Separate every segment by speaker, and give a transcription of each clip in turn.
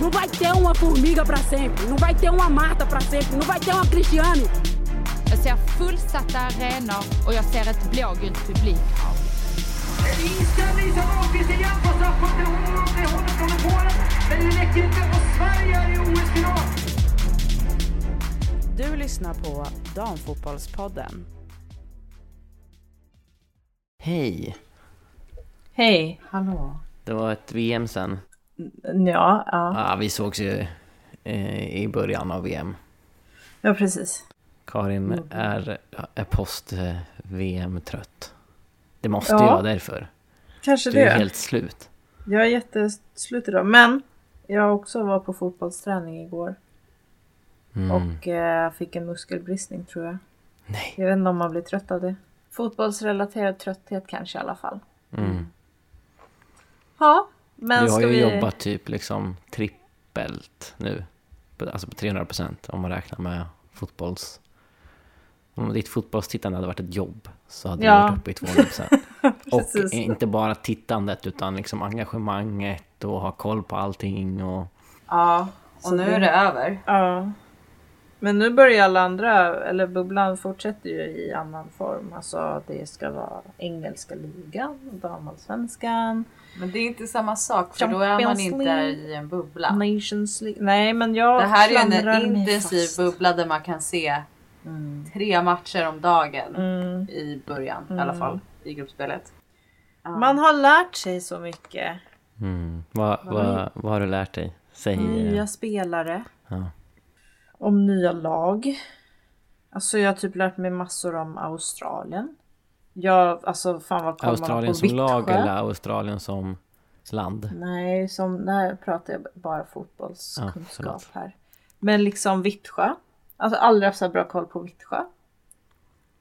Speaker 1: Não vai ter uma formiga para sempre, não vai ter uma Marta para sempre, não vai ter uma Cristiane.
Speaker 2: Jag ser fullsatta arenor och jag ser ett blågult publikhav.
Speaker 3: Inställning som Ahlqvist igen på straffpunkten. Hon håller från Polen, men det räcker inte. Och Sverige är i OS-final.
Speaker 4: Du lyssnar på Damfotbollspodden.
Speaker 5: Hej!
Speaker 6: Hej.
Speaker 4: Hallå.
Speaker 5: Det var ett VM sen.
Speaker 6: Ja, ja.
Speaker 5: Ja, vi sågs ju eh, i början av VM.
Speaker 6: Ja, precis.
Speaker 5: Karin
Speaker 6: Mm.
Speaker 5: är, eh, är post-VM-trött. Det måste
Speaker 6: Ja,
Speaker 5: ju vara därför.
Speaker 6: Kanske
Speaker 5: Du
Speaker 6: det.
Speaker 5: är helt slut.
Speaker 6: Jag är jätteslut idag. Men jag också var på fotbollsträning igår.
Speaker 5: Mm.
Speaker 6: Och eh, fick en muskelbristning tror jag.
Speaker 5: Nej.
Speaker 6: Jag vet inte om man blir trött av det. Fotbollsrelaterad trötthet kanske i alla fall.
Speaker 5: Mm.
Speaker 6: Ja, men
Speaker 5: du har
Speaker 6: ska
Speaker 5: ju
Speaker 6: vi...
Speaker 5: jobbat typ liksom trippelt nu. På- Alltså på 300 procent om man räknar med fotbolls... Om ditt fotbollstittande hade varit ett jobb så hade
Speaker 6: Ja.
Speaker 5: du varit uppe i 200 procent.
Speaker 6: Precis.
Speaker 5: och inte bara tittandet utan liksom engagemanget och ha koll på allting och...
Speaker 7: Ja, och
Speaker 6: Så
Speaker 7: nu
Speaker 6: det-
Speaker 7: är det över.
Speaker 6: Ja. Men nu börjar alla andra, eller bubblan fortsätter ju i annan form. Alltså det ska vara engelska ligan, damallsvenskan,
Speaker 7: Men det är inte samma sak för då är man
Speaker 6: Champions
Speaker 7: inte
Speaker 6: League.
Speaker 7: i en bubbla.
Speaker 6: Nations League. Nej men jag
Speaker 7: Det här är
Speaker 6: klamrar
Speaker 7: en
Speaker 6: mig
Speaker 7: intensiv
Speaker 6: fast.
Speaker 7: bubbla där man kan se tre matcher om dagen
Speaker 6: Mm.
Speaker 7: i början i alla fall i gruppspelet.
Speaker 6: Man har lärt sig så mycket.
Speaker 5: Mm. Vad, vad, vad har du lärt dig? Säg...
Speaker 6: Nya
Speaker 5: eh,
Speaker 6: spelare.
Speaker 5: Ja.
Speaker 6: Om nya lag. Alltså jag har typ lärt mig massor om Australien. Jag, alltså fan vad kollar man på
Speaker 5: Australien som lag
Speaker 6: Vittsjö?
Speaker 5: eller Australien som land?
Speaker 6: Nej, som, där pratar jag bara
Speaker 5: Ja,
Speaker 6: fotbollskunskap
Speaker 5: förlåt.
Speaker 6: här. Men liksom Vittsjö. Alltså aldrig haft så här bra koll på Vittsjö.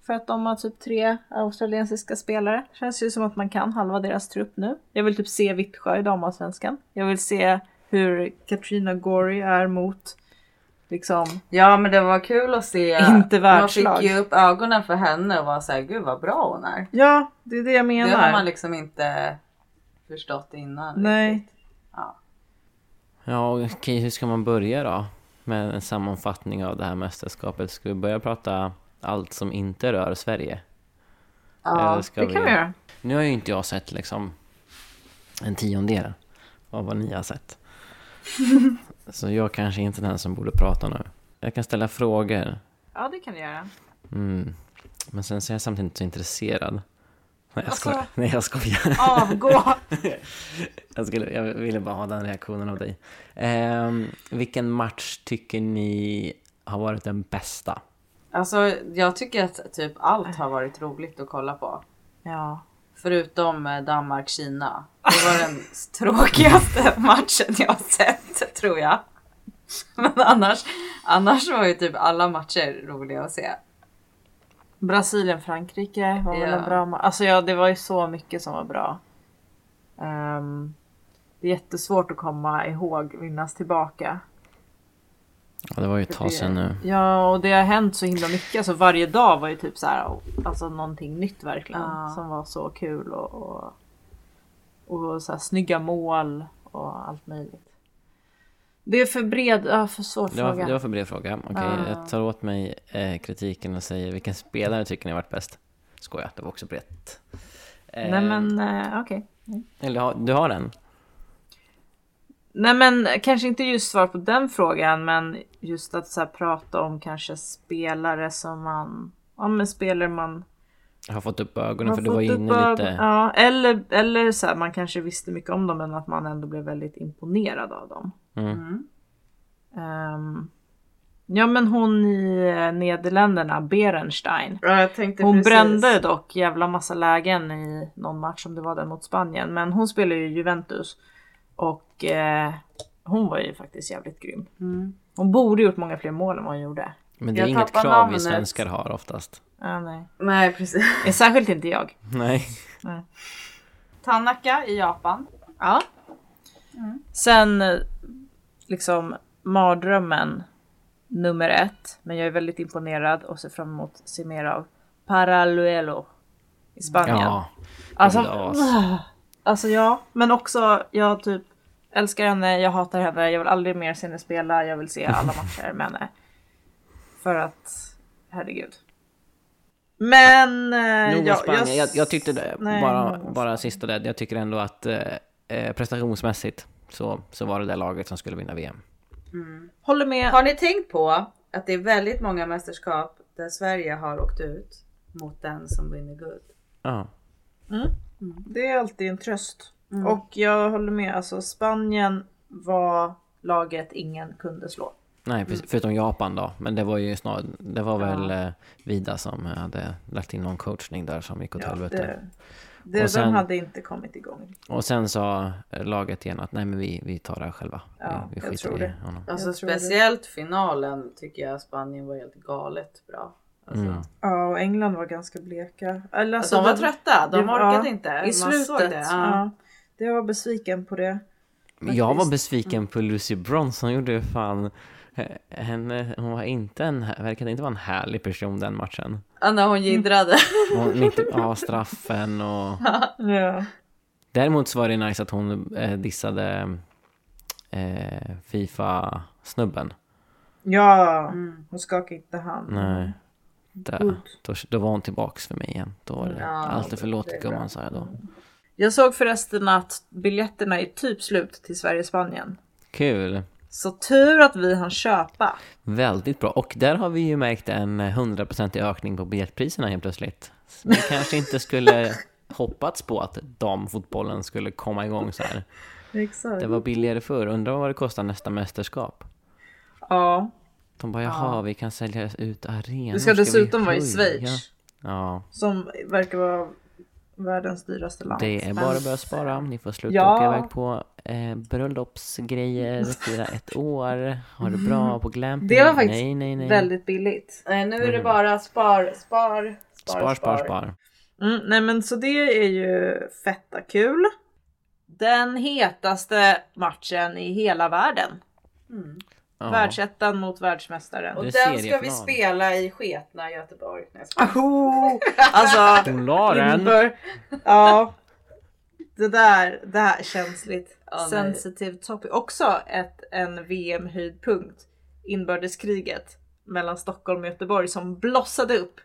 Speaker 6: För att de har typ tre australiensiska spelare. Känns ju som att man kan halva deras trupp nu. Jag vill typ se Vittsjö i damallsvenskan. Jag vill se hur Katrina Gorry är mot liksom...
Speaker 7: Ja men det var kul att se.
Speaker 6: Inte
Speaker 7: Man
Speaker 6: världslag.
Speaker 7: fick ju upp ögonen för henne och var såhär gud vad bra hon är.
Speaker 6: Ja, det är det jag
Speaker 7: Det har
Speaker 6: menar.
Speaker 7: man liksom inte förstått innan.
Speaker 6: Nej.
Speaker 5: Ja, okej, hur ska man börja då? Med en sammanfattning av det här mästerskapet. Ska vi börja prata allt som inte rör Sverige?
Speaker 6: Ja,
Speaker 5: Eller ska
Speaker 6: det kan
Speaker 5: vi-
Speaker 6: vi göra.
Speaker 5: Nu har ju inte jag sett liksom en tiondel av vad ni har sett. Så jag kanske inte är den som borde prata nu. Jag kan ställa frågor,
Speaker 6: Ja, det kan vi göra.
Speaker 5: mm. men sen så är jag samtidigt inte så intresserad. Nej, jag
Speaker 6: Alltså-
Speaker 5: skojar. Nej, jag skojar.
Speaker 6: Avgå!
Speaker 5: Jag, skulle, jag ville bara ha den reaktionen av dig. Ehm, vilken match tycker ni har varit den bästa?
Speaker 7: Alltså jag tycker att typ allt har varit roligt att kolla på.
Speaker 6: ja.
Speaker 7: Förutom eh, Danmark-Kina. Det var den tråkigaste matchen jag har sett tror jag. Men annars, annars var ju typ alla matcher roliga att se.
Speaker 6: Brasilien-Frankrike var väl
Speaker 7: Ja.
Speaker 6: en bra ma- Alltså ja, det var ju så mycket som var bra. Ehm, det är jättesvårt att komma ihåg, minnas tillbaka.
Speaker 5: Ja, det var ju ett tag sedan nu.
Speaker 6: Ja, och det har hänt så himla mycket. Alltså varje dag var ju typ så här, alltså någonting nytt verkligen.
Speaker 7: Ja.
Speaker 6: Som var så kul och, och, och så här, snygga mål och allt möjligt. Det är för bred, ja, för svår
Speaker 5: Det var,
Speaker 6: fråga. Ah.
Speaker 5: det var för bred fråga. Okej, jag tar åt mig eh, kritiken och säger vilken spelare tycker ni har varit bäst? Skoja, det var också brett. Eh,
Speaker 6: Nej men eh, okej.
Speaker 5: Eller har- du har den?
Speaker 6: Nej men kanske inte just svar på den frågan men just att så här, prata om kanske spelare som man, ja men spelare man
Speaker 5: Jag har fått upp ögonen
Speaker 6: har
Speaker 5: för du var
Speaker 6: fått
Speaker 5: inne
Speaker 6: upp av-
Speaker 5: lite.
Speaker 6: Ja, eller, eller så här, man kanske visste mycket om dem men att man ändå blev väldigt imponerad av dem.
Speaker 5: Mm.
Speaker 6: Ehm, ja men hon i eh, Nederländerna, Berenstein.
Speaker 7: Ja, jag tänkte
Speaker 6: Hon brände dock jävla massa lägen i någon match som det var den mot Spanien. Men hon spelar ju i Juventus. Och eh, hon var ju faktiskt jävligt grym. Hon borde gjort många fler mål än vad hon gjorde.
Speaker 5: Men det är
Speaker 7: Jag
Speaker 5: inget
Speaker 7: tappar
Speaker 5: krav vi
Speaker 7: namnet.
Speaker 5: svenskar har oftast.
Speaker 6: Ja, nej.
Speaker 7: Nej precis.
Speaker 6: Eh, Särskilt inte jag.
Speaker 5: Nej.
Speaker 7: Tanaka i Japan.
Speaker 6: Ja. Sen eh, liksom mardrömmen nummer ett. Men jag är väldigt imponerad och ser fram emot att se mer av Paraluelo i Spanien.
Speaker 5: Ja.
Speaker 6: Alltså,
Speaker 5: Gula as.
Speaker 6: alltså ja, men också jag typ älskar henne, jag hatar henne, jag vill aldrig mer se henne spela, jag vill se alla matcher med henne. För att, herregud. Men... eh,
Speaker 5: Nog om
Speaker 6: jag-
Speaker 5: Spanien. Jag, jag tyckte det,
Speaker 6: Nej,
Speaker 5: bara,
Speaker 6: nog om
Speaker 5: bara sista där, jag tycker ändå att eh, eh, prestationsmässigt så, så var det det laget som skulle vinna VM.
Speaker 6: Håller med.
Speaker 7: Har ni tänkt på att det är väldigt många mästerskap där Sverige har åkt ut mot den som vinner guld?
Speaker 5: Ja.
Speaker 6: Det är alltid en tröst. Och jag håller med, alltså Spanien var laget ingen kunde slå.
Speaker 5: Nej,
Speaker 6: Mm.
Speaker 5: precis, förutom Japan då. Men det var ju snarare, det var väl eh, Vida som hade lagt in någon coachning där som gick åt helvete.
Speaker 6: det, det,
Speaker 5: Och sen-
Speaker 6: De hade inte kommit igång.
Speaker 5: Och sen sa eh, laget igen att nej men vi, vi tar det här själva.
Speaker 6: Ja,
Speaker 5: vi, vi
Speaker 6: jag tror det.
Speaker 5: honom.
Speaker 7: Alltså
Speaker 6: Jag tror det.
Speaker 7: speciellt finalen tycker jag Spanien var helt galet bra. Alltså,
Speaker 5: Mm.
Speaker 6: Ja, och England var ganska bleka. Eller,
Speaker 7: alltså, de var
Speaker 6: den-
Speaker 7: trötta, de
Speaker 6: det-
Speaker 7: orkade
Speaker 6: ja,
Speaker 7: inte.
Speaker 6: I slutet.
Speaker 7: Man såg det. Ja.
Speaker 6: Ja. Det var besviken på det.
Speaker 5: Jag var
Speaker 6: Mm.
Speaker 5: besviken på Lucy Bronze, hon gjorde fan eh, henne, hon var inte en, verkade inte vara en härlig person den matchen.
Speaker 7: Ja, När
Speaker 6: Mm.
Speaker 7: hon jiddrade.
Speaker 5: Hon inte, ja, straffen och...
Speaker 6: Ja.
Speaker 5: Däremot så var det nice att hon eh, dissade eh, Fifa-snubben.
Speaker 6: Ja, hon skakade inte hand.
Speaker 5: Nej. Där, då, då var hon tillbaks för mig igen. Då var det,
Speaker 7: Ja,
Speaker 5: allt är
Speaker 7: det är
Speaker 5: förlåtet
Speaker 7: bra.
Speaker 5: gumman sa jag då.
Speaker 6: Jag såg förresten att biljetterna är typ slut till Sverige-Spanien.
Speaker 5: Kul!
Speaker 6: Så tur att vi hann köpa.
Speaker 5: Väldigt bra. Och där har vi ju märkt en 100% ökning på biljettpriserna helt plötsligt. Vi kanske inte skulle hoppats på att damfotbollen skulle komma igång så här.
Speaker 6: Exakt.
Speaker 5: Det var billigare förr. Undrar vad det kostar nästa mästerskap.
Speaker 6: Ja,
Speaker 5: De bara, jaha, vi kan sälja ut arenor.
Speaker 6: det ska
Speaker 5: vi
Speaker 6: dessutom vara i
Speaker 5: höja?"
Speaker 6: Schweiz.
Speaker 5: Ja,
Speaker 6: Som verkar vara världens dyraste land.
Speaker 5: det är
Speaker 6: Men-
Speaker 5: bara att börja spara. Ni får sluta
Speaker 6: Ja.
Speaker 5: åka iväg på eh, bröllopsgrejer, fira ett år, ha det bra på glamping.
Speaker 6: Det var faktiskt
Speaker 5: nej, nej, nej. Mm.
Speaker 6: Väldigt billigt.
Speaker 7: Nej, nu är det bara spar, spar, spar,
Speaker 5: Spar, spar, spar.
Speaker 6: Mm, nej men så det är ju fetta kul. Den hetaste matchen i hela världen.
Speaker 5: Ja.
Speaker 6: Världsettan mot världsmästaren.
Speaker 7: Och
Speaker 5: Det är
Speaker 7: den ska vi
Speaker 5: seriefinal.
Speaker 7: spela i sketna Göteborg. Nej, jag skojar.
Speaker 6: Oh, alltså,
Speaker 5: Hon la den!
Speaker 6: inför, ja. Det där, det här är känsligt.
Speaker 7: Ja, nej.
Speaker 6: Sensitive topic. Också ett, en VM-höjdpunkt. Inbördeskriget mellan Stockholm och Göteborg som blossade upp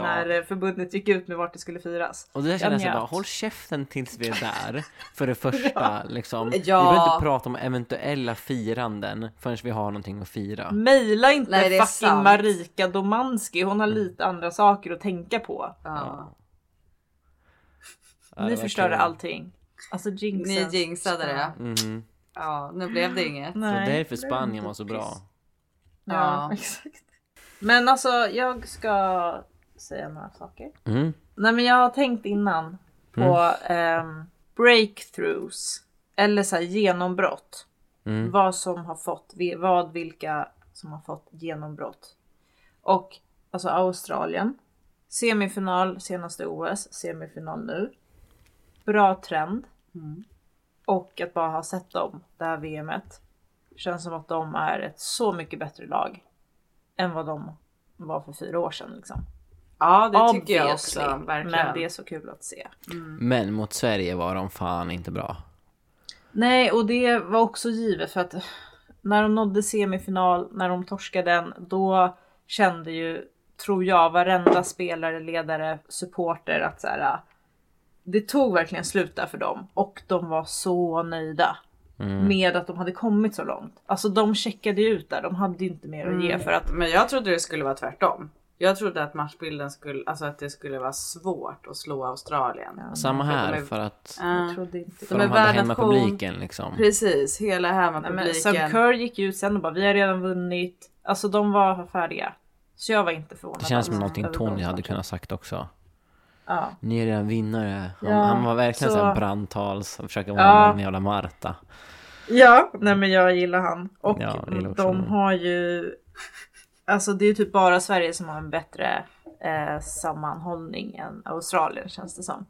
Speaker 6: när eh, förbundet gick ut med vart det skulle firas.
Speaker 5: Och det där
Speaker 6: Jag
Speaker 5: kändes jag bara,
Speaker 6: njöt.
Speaker 5: håll käften tills vi är där. För det första, liksom. Vi
Speaker 7: Ja.
Speaker 5: behöver inte prata om eventuella firanden förrän vi har någonting att fira.
Speaker 6: Mejla inte
Speaker 7: Nej, det är
Speaker 6: fucking
Speaker 7: sant.
Speaker 6: Marika Domanski, hon
Speaker 5: Mm.
Speaker 6: har lite andra saker att tänka på.
Speaker 7: Ja.
Speaker 5: Ja, det
Speaker 6: Ni
Speaker 5: var
Speaker 6: förstörde
Speaker 5: kul.
Speaker 6: allting. Alltså
Speaker 7: Ni
Speaker 6: jinxen.
Speaker 7: jinxade det.
Speaker 5: Mhm.
Speaker 7: Ja, nu blev det inget.
Speaker 5: Så
Speaker 6: Nej.
Speaker 5: därför Spanien var så bra.
Speaker 6: Ja,
Speaker 7: Ja.
Speaker 6: exakt. Men alltså jag ska säga några saker.
Speaker 5: Mm.
Speaker 6: Nej men jag har tänkt innan på ehm, breakthroughs. Eller så här genombrott.
Speaker 5: Mm.
Speaker 6: Vad som har fått, vi- vad vilka som har fått genombrott. Och alltså Australien. Semifinal senaste OS, semifinal nu. Bra trend. Och att bara ha sett dem det här VMet. Känns som att de är ett så mycket bättre lag. Än vad de var för fyra år sedan liksom.
Speaker 7: Ja, det tycker jag
Speaker 6: Obviously,
Speaker 7: också. Verkligen.
Speaker 6: Men det är så kul att se.
Speaker 5: Men mot Sverige var de fan inte bra.
Speaker 6: Nej, och det var också givet för att när de nådde semifinal, när de torskade den, då kände ju, tror jag, varenda spelare, ledare, supporter att så här, äh, det tog verkligen slut där för dem och de var så nöjda med att de hade kommit så långt. Alltså de checkade ju ut där, de hade ju inte mer att ge för att
Speaker 7: Men jag trodde det skulle vara tvärtom. Jag trodde att matchbilden skulle, alltså att det skulle vara svårt att slå Australien.
Speaker 5: Samma
Speaker 7: de
Speaker 5: här
Speaker 7: är-
Speaker 5: för att
Speaker 6: jag
Speaker 7: Ja.
Speaker 6: trodde inte
Speaker 5: för
Speaker 7: de
Speaker 5: de,
Speaker 7: är
Speaker 5: hade
Speaker 7: världnation.
Speaker 5: hemmapubliken liksom.
Speaker 7: Precis, hela
Speaker 6: Men
Speaker 7: hemmapubliken.
Speaker 6: Sam Kerr gick ju ut sen och bara vi har redan vunnit. Alltså de var färdiga. Så jag var inte förvånad.
Speaker 5: Det känns som
Speaker 6: alls
Speaker 5: någonting
Speaker 6: över
Speaker 5: Tony
Speaker 6: dem.
Speaker 5: hade kunnat sagt också.
Speaker 6: Ja.
Speaker 5: Ni är redan vinnare. Han,
Speaker 6: Ja,
Speaker 5: han var verkligen
Speaker 6: så-
Speaker 5: så... såhär brandtals och försöka vara
Speaker 6: Ja.
Speaker 5: någon jävla Marta.
Speaker 6: ja, nej men jag gillar han. Och
Speaker 5: Ja, jag gillar också
Speaker 6: de
Speaker 5: honom.
Speaker 6: har ju... Alltså det är ju typ bara Sverige som har en bättre eh, sammanhållning än Australien känns det som.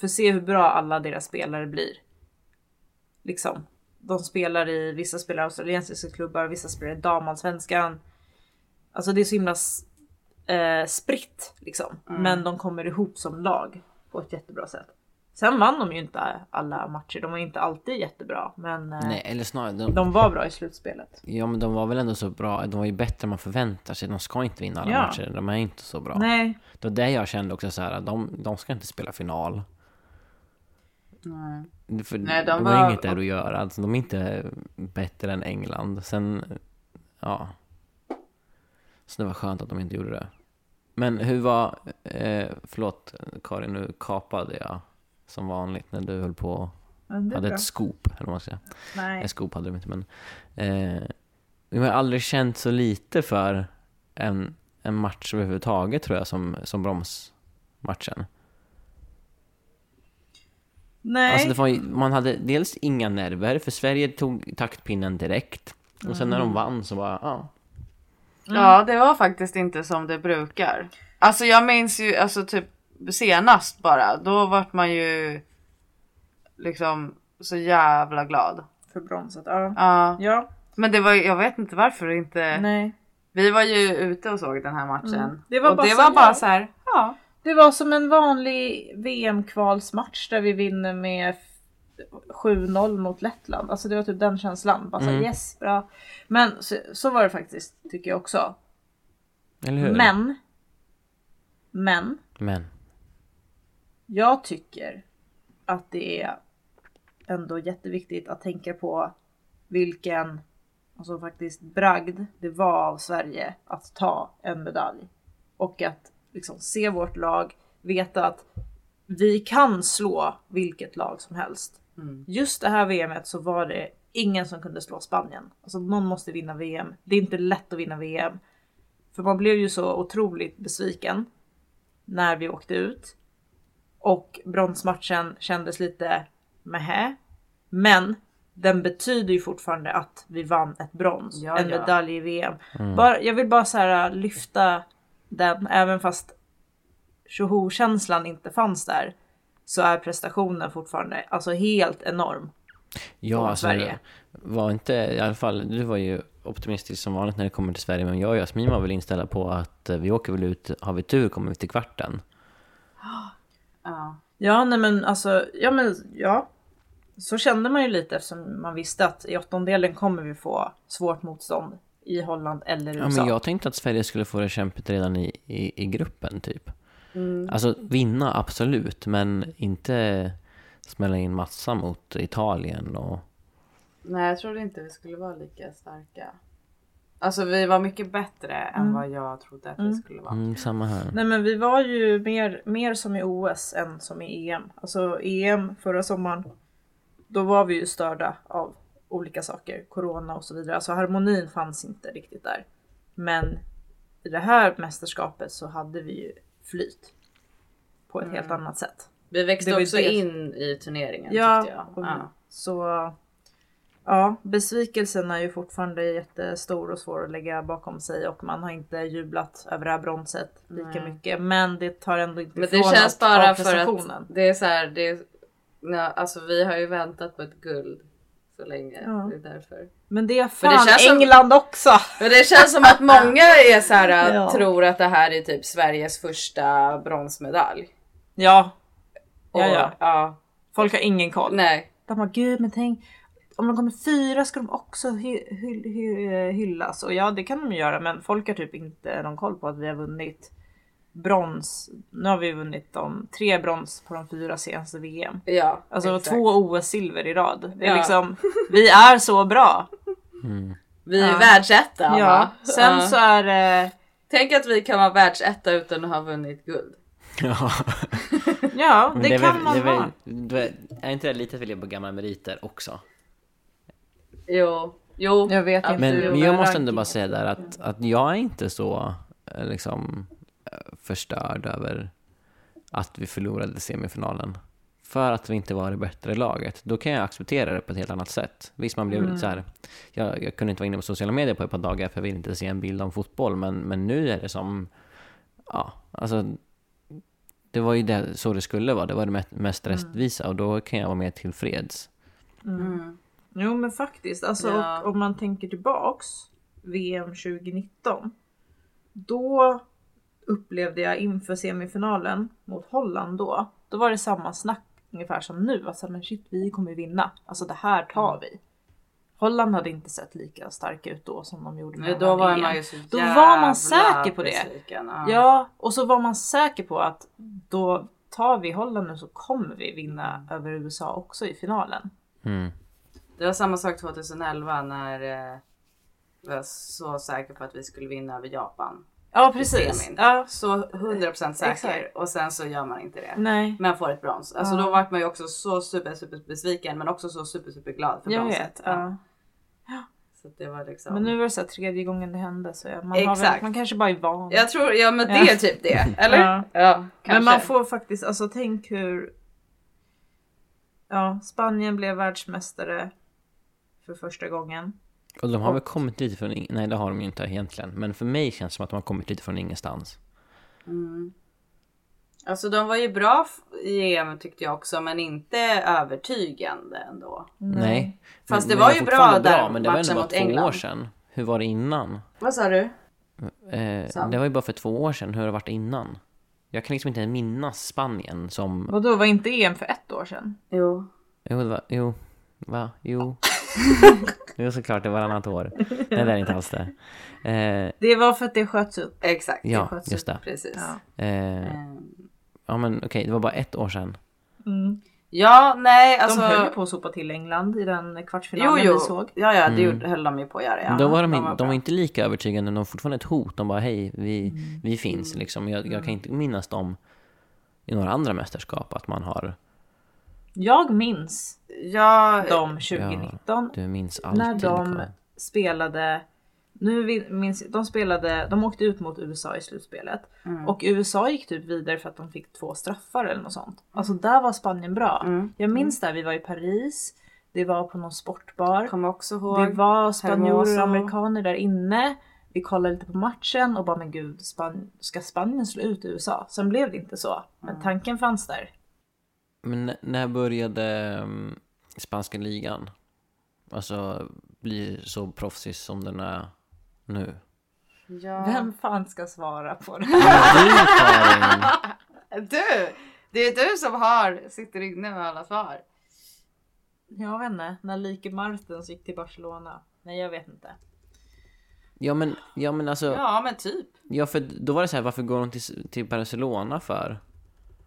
Speaker 6: För se hur bra alla deras spelare blir. Liksom. De spelar i, vissa spelar i australiensiska klubbar, vissa spelar i damallsvenskan. Alltså det är så himla s- eh, spritt liksom. Men de kommer ihop som lag på ett jättebra sätt. Sen vann de ju inte alla matcher. De var inte alltid jättebra, men eh,
Speaker 5: Nej, eller snarare, de,
Speaker 6: de var bra i slutspelet.
Speaker 5: ja, men de var väl ändå så bra. De var ju bättre än man förväntar sig. De ska inte vinna alla
Speaker 6: Ja.
Speaker 5: matcher. De är inte så bra.
Speaker 6: Nej,
Speaker 5: Det var det jag kände också så här, att de, de ska inte spela final.
Speaker 7: Nej.
Speaker 5: Det- För
Speaker 7: Nej, de
Speaker 5: de, har
Speaker 7: var-
Speaker 5: inget där att göra. Alltså, de är inte bättre än England. Sen, ja. Så det var skönt att de inte gjorde det. Men hur var, eh, förlåt Karin, nu kapade jag som vanligt när du höll på
Speaker 6: men det är
Speaker 5: hade
Speaker 6: bra.
Speaker 5: ett scoop, eller vad man ska säga.
Speaker 6: Nej.
Speaker 5: Nej, scoop hade de inte, men... Eh, jag har aldrig känt så lite för en, en match överhuvudtaget, tror jag, som, som bromsmatchen.
Speaker 6: Nej.
Speaker 5: Alltså det var, ju- man hade dels inga nerver, för Sverige tog taktpinnen direkt. Och sen när
Speaker 6: Mm.
Speaker 5: de vann så bara, ja.
Speaker 7: Ja, det var faktiskt inte som det brukar. Alltså jag minns ju, alltså typ senast bara, då vart man ju liksom så jävla glad.
Speaker 6: För bronsat, ja.
Speaker 7: Ja,
Speaker 6: Ja,
Speaker 7: men det var ju- jag vet inte varför det inte.
Speaker 6: nej.
Speaker 7: Vi var ju ute och såg den här matchen.
Speaker 6: Mm. Det var
Speaker 7: och
Speaker 6: bara
Speaker 7: det
Speaker 6: så
Speaker 7: var
Speaker 6: här-
Speaker 7: bara så här, ja.
Speaker 6: Det var som en vanlig VM-kvalsmatch där vi vinner med f- 7-0 mot Lettland. Alltså det var typ den känslan. Bara såhär,
Speaker 5: Mm.
Speaker 6: yes, bra. Men så, så var det faktiskt, tycker jag också.
Speaker 5: Eller hur?
Speaker 6: Men. Men.
Speaker 5: Men.
Speaker 6: Jag tycker att det är ändå jätteviktigt att tänka på vilken alltså faktiskt bragd det var av Sverige att ta en medalj. Och att liksom se vårt lag, veta att vi kan slå vilket lag som helst. Just det här VMet så var det ingen som kunde slå Spanien. Alltså någon måste vinna VM. Det är inte lätt att vinna VM. För man blev ju så otroligt besviken när vi åkte ut. Och bronsmatchen kändes lite mähä. Men den betyder ju fortfarande att vi vann ett brons,
Speaker 7: Ja,
Speaker 6: en
Speaker 7: ja.
Speaker 6: medalj i VM. Bara, jag vill bara så här äh, lyfta den, även fast tjoho-känslan inte fanns där. Så är prestationen fortfarande alltså helt enorm.
Speaker 5: Ja, alltså,
Speaker 6: Sverige.
Speaker 5: var inte, i alla fall, du var ju optimistisk som vanligt när det kommer till Sverige, men jag och Jasmin var väl inställda på att eh, vi åker väl ut, har vi tur kommer vi till kvarten.
Speaker 7: ja.
Speaker 6: Ja, nej men alltså, ja men ja. Så kände man ju lite eftersom man visste att i åttondelen kommer vi få svårt motstånd i Holland eller
Speaker 5: Ja,
Speaker 6: USA.
Speaker 5: men jag tänkte att Sverige skulle få det kämpigt redan i, i, i gruppen, typ.
Speaker 6: Mm.
Speaker 5: Alltså vinna, absolut, men inte smälla in massa mot Italien och...
Speaker 7: Nej, jag trodde inte vi skulle vara lika starka. Alltså vi var mycket bättre
Speaker 6: Mm.
Speaker 7: än vad jag trodde att vi skulle vara.
Speaker 5: Mm, samma här.
Speaker 6: Nej men vi var ju mer, mer som i OS än som i EM. Alltså EM förra sommaren, då var vi ju störda av olika saker, corona och så vidare. Alltså harmonin fanns inte riktigt där. Men i det här mästerskapet så hade vi ju flyt på ett helt
Speaker 5: Mm.
Speaker 6: annat sätt.
Speaker 7: Vi
Speaker 6: Det
Speaker 7: växte
Speaker 6: var ju
Speaker 7: också
Speaker 6: det-
Speaker 7: in i turneringen tyckte jag.
Speaker 6: och-
Speaker 7: Ja.
Speaker 6: så ja, besvikelsen är ju fortfarande jättestor och svår att lägga bakom sig och man har inte jublat över det här bronset lika mycket. Men det tar ändå inte
Speaker 7: Men det
Speaker 6: ifrån
Speaker 7: känns
Speaker 6: något av
Speaker 7: bara för
Speaker 6: prestationen.
Speaker 7: att det är så här, det är, nej, alltså vi har ju väntat på ett guld så länge.
Speaker 6: Ja.
Speaker 7: Det är därför.
Speaker 6: Men det är fan
Speaker 7: känns som-
Speaker 6: England också!
Speaker 7: Men det känns som att många är så här,
Speaker 6: Ja.
Speaker 7: tror att det här är typ Sveriges första bronsmedalj.
Speaker 6: Ja,
Speaker 7: Och,
Speaker 6: ja, ja.
Speaker 7: ja.
Speaker 6: Folk har ingen koll.
Speaker 7: Nej.
Speaker 6: De bara gud men tänk om de kommer fyra ska de också hy- hy- hy- hyllas. Och ja det kan de göra men folk har typ inte någon koll på att vi har vunnit brons. Nu har vi vunnit de tre brons på de fyra senaste VM.
Speaker 7: Ja.
Speaker 6: Alltså
Speaker 7: exakt.
Speaker 6: två OS-silver i rad. Det är
Speaker 7: Ja.
Speaker 6: liksom, vi är så bra.
Speaker 7: Vi är
Speaker 6: Ja.
Speaker 7: världsetta.
Speaker 6: Ja.
Speaker 7: va?
Speaker 6: Sen
Speaker 7: Ja.
Speaker 6: så är eh, det,
Speaker 7: Tänk att vi kan vara världsetta utan att ha vunnit guld.
Speaker 5: Ja,
Speaker 6: ja
Speaker 5: men
Speaker 6: det,
Speaker 5: är
Speaker 6: kan
Speaker 5: väl-
Speaker 6: man
Speaker 5: det är väl-
Speaker 6: ha.
Speaker 5: det är- Är inte det lite att vilja på gamla meriter också?
Speaker 7: Jo. Jo.
Speaker 6: Jag vet inte
Speaker 5: Men,
Speaker 6: hur
Speaker 5: men
Speaker 6: det
Speaker 5: jag
Speaker 6: är
Speaker 5: måste
Speaker 6: ranking.
Speaker 5: ändå bara säga där att, att jag är inte så eh, liksom eh, förstörd över att vi förlorade semifinalen. För att vi inte var det bättre laget. Då kan jag acceptera det på ett helt annat sätt. Visst, man blev så här. Jag, jag kunde inte vara inne på sociala medier på ett par dagar för jag ville inte se en bild om fotboll. Men, men nu är det som, ja, alltså. Det var ju det, så det skulle vara. Det var det me- mest rättvisa och då kan jag vara mer tillfreds.
Speaker 6: Jo men faktiskt, alltså
Speaker 7: Ja.
Speaker 6: och, om man tänker tillbaks VM 2019. Då upplevde jag inför semifinalen mot Holland då, då var det samma snack ungefär som nu. Alltså men shit, vi kommer vinna. Alltså det här tar
Speaker 7: Mm.
Speaker 6: vi. Holland hade inte sett lika starka ut då som de gjorde när
Speaker 7: Nej,
Speaker 6: de
Speaker 7: då
Speaker 6: vann
Speaker 7: var
Speaker 6: EM.
Speaker 7: man ju så
Speaker 6: Då
Speaker 7: jävla
Speaker 6: var man säker på det.
Speaker 7: besviken, Ja.
Speaker 6: Ja, och så var man säker på att då tar vi Holland nu så kommer vi vinna över USA också i finalen.
Speaker 5: Mm.
Speaker 7: Det var samma sak 2011 när eh, jag var så säker på att vi skulle vinna över Japan.
Speaker 6: Ja,
Speaker 7: Semin.
Speaker 6: Ja,
Speaker 7: Så 100% säker
Speaker 6: Exakt.
Speaker 7: och sen så gör man inte det.
Speaker 6: nej.
Speaker 7: Men får ett brons. Alltså
Speaker 6: Ja.
Speaker 7: då vart man ju också så super super besviken men också så super super glad för
Speaker 6: Jag
Speaker 7: bronset.
Speaker 6: vet. Ja.
Speaker 7: Så att det var liksom.
Speaker 6: Men nu var det så här, tredje gången det hände så man, har väl,
Speaker 7: Exakt.
Speaker 6: man kanske bara är van.
Speaker 7: Jag tror, ja men det
Speaker 6: Ja.
Speaker 7: är typ det. Eller?
Speaker 6: Ja.
Speaker 7: Ja.
Speaker 6: Men
Speaker 7: kanske.
Speaker 6: man får faktiskt, alltså tänk hur... Ja, Spanien blev världsmästare för första gången.
Speaker 5: Och de har väl kommit dit från... In... Nej, det har de ju inte egentligen. Men för mig känns det som att de har kommit dit från ingenstans.
Speaker 7: Alltså de var ju bra f- i EM tyckte jag också men inte övertygande ändå.
Speaker 5: Nej. Men-
Speaker 7: Fast det
Speaker 5: men
Speaker 7: var ju
Speaker 5: fortfarande
Speaker 7: bra där,
Speaker 5: men det var ändå
Speaker 7: matchen
Speaker 5: bara
Speaker 7: mot
Speaker 5: två
Speaker 7: England.
Speaker 5: år sedan. Hur var det innan?
Speaker 7: Vad sa du?
Speaker 5: Eh,
Speaker 7: Sant.
Speaker 5: det var ju bara för två år sedan. Hur har det varit innan? Jag kan liksom inte minnas Spanien som...
Speaker 6: Vadå, var inte EM för ett år sedan?
Speaker 7: Jo.
Speaker 5: Jo, det var... Jo. Va? Jo. jo, såklart. Det var varannat år. Nej, det är inte alls det. Eh,
Speaker 6: Det var för att det sköts upp.
Speaker 7: Exakt.
Speaker 5: Ja,
Speaker 7: sköts
Speaker 5: just
Speaker 7: upp,
Speaker 5: det.
Speaker 7: Precis.
Speaker 6: Ja.
Speaker 5: eh,
Speaker 7: Ehm,
Speaker 5: ja, men okej. det var bara ett år sedan.
Speaker 7: Ja, nej
Speaker 6: De
Speaker 7: alltså.
Speaker 6: höll ju på att sopa till England i den
Speaker 7: Jo,
Speaker 6: kvartsfinalen
Speaker 7: jo.
Speaker 6: vi såg.
Speaker 7: Ja, ja, det gjorde, höll de ju på att göra. Ja.
Speaker 5: Men Mm. då var de, in, de
Speaker 7: bra.
Speaker 5: var inte lika övertygande, men de var fortfarande ett hot. De bara hej, vi, vi finns liksom. Jag, jag kan inte minnas dem i några andra mästerskap, att man har,
Speaker 6: Jag minns
Speaker 7: Ja,
Speaker 6: dem 2019
Speaker 5: du minns alltid. liksom.
Speaker 6: när de
Speaker 5: Karin.
Speaker 6: spelade, nu vi- minns de spelade, de åkte ut mot USA i slutspelet och USA gick typ vidare för att de fick två straffar eller något sånt. Alltså där var Spanien bra.
Speaker 7: mm.
Speaker 6: Jag minns där, vi var i Paris, det var på någon sportbar,
Speaker 7: kommer också ihåg.
Speaker 6: det var spanjorer
Speaker 7: Hermoso.
Speaker 6: och amerikaner där inne. Vi kollade lite på matchen och bara men gud, Span- ska Spanien slå ut USA? Sen blev det inte så, men tanken fanns där.
Speaker 5: Men n- när började mm, spanska ligan? Alltså bli så proffsig som den är nu?
Speaker 7: Ja.
Speaker 6: Vem fan ska svara på det?
Speaker 5: Du Karin!
Speaker 7: Du! Det är du som har, sitter inne med alla svar.
Speaker 6: Jag vet inte, när Like Martens gick till Barcelona. Nej jag vet inte.
Speaker 5: Ja men, ja men alltså, ja.
Speaker 7: Ja, men typ.
Speaker 5: för då var det så här, varför går hon till, till Barcelona för?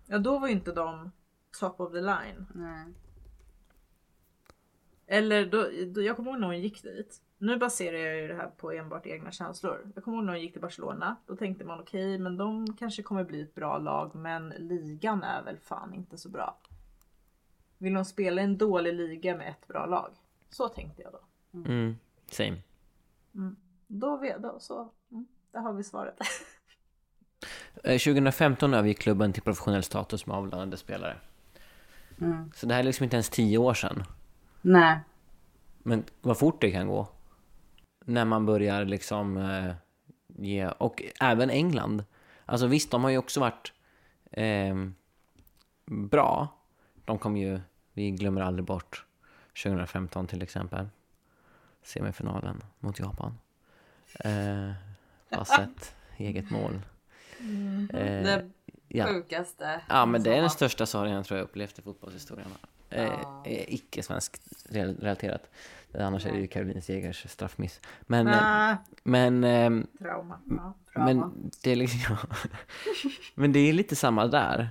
Speaker 6: Ja då var ju inte de top of the line. Eller då, då, jag kommer ihåg när hon gick dit. Nu baserar jag ju det här på enbart egna känslor. Jag kommer ihåg när hon gick till Barcelona. Då tänkte man okej, men de kanske kommer bli ett bra lag, men ligan är väl fan inte så bra. Vill hon spela i en dålig liga med ett bra lag? Så tänkte jag då.
Speaker 5: Mm, same.
Speaker 6: Då, vet- då så, mm, där har vi svaret.
Speaker 5: Eh, 2015 övergick klubben till professionell status med avlönade spelare. Så det här är liksom inte ens tio år sedan.
Speaker 7: Nej.
Speaker 5: Men vad fort det kan gå. När man börjar liksom eh, ge, och även England. Alltså visst, de har ju också varit ehm, bra. De kom ju, vi glömmer aldrig bort 2015 till exempel. Semifinalen mot Japan. Eh, Bassett, eget mål. Eh,
Speaker 7: Det
Speaker 5: ja.
Speaker 7: sjukaste.
Speaker 5: Ja, men det är den
Speaker 7: som-
Speaker 5: största sorgen tror jag upplevt i fotbollshistorien. Eh, eh, icke svensk relaterat. Eh, Annars är det ju Caroline Segers straffmiss. Men, eh,
Speaker 6: Ah,
Speaker 5: men, ehm,
Speaker 6: trauma. Ja.
Speaker 5: men, det är liksom, ja. men det är lite samma där.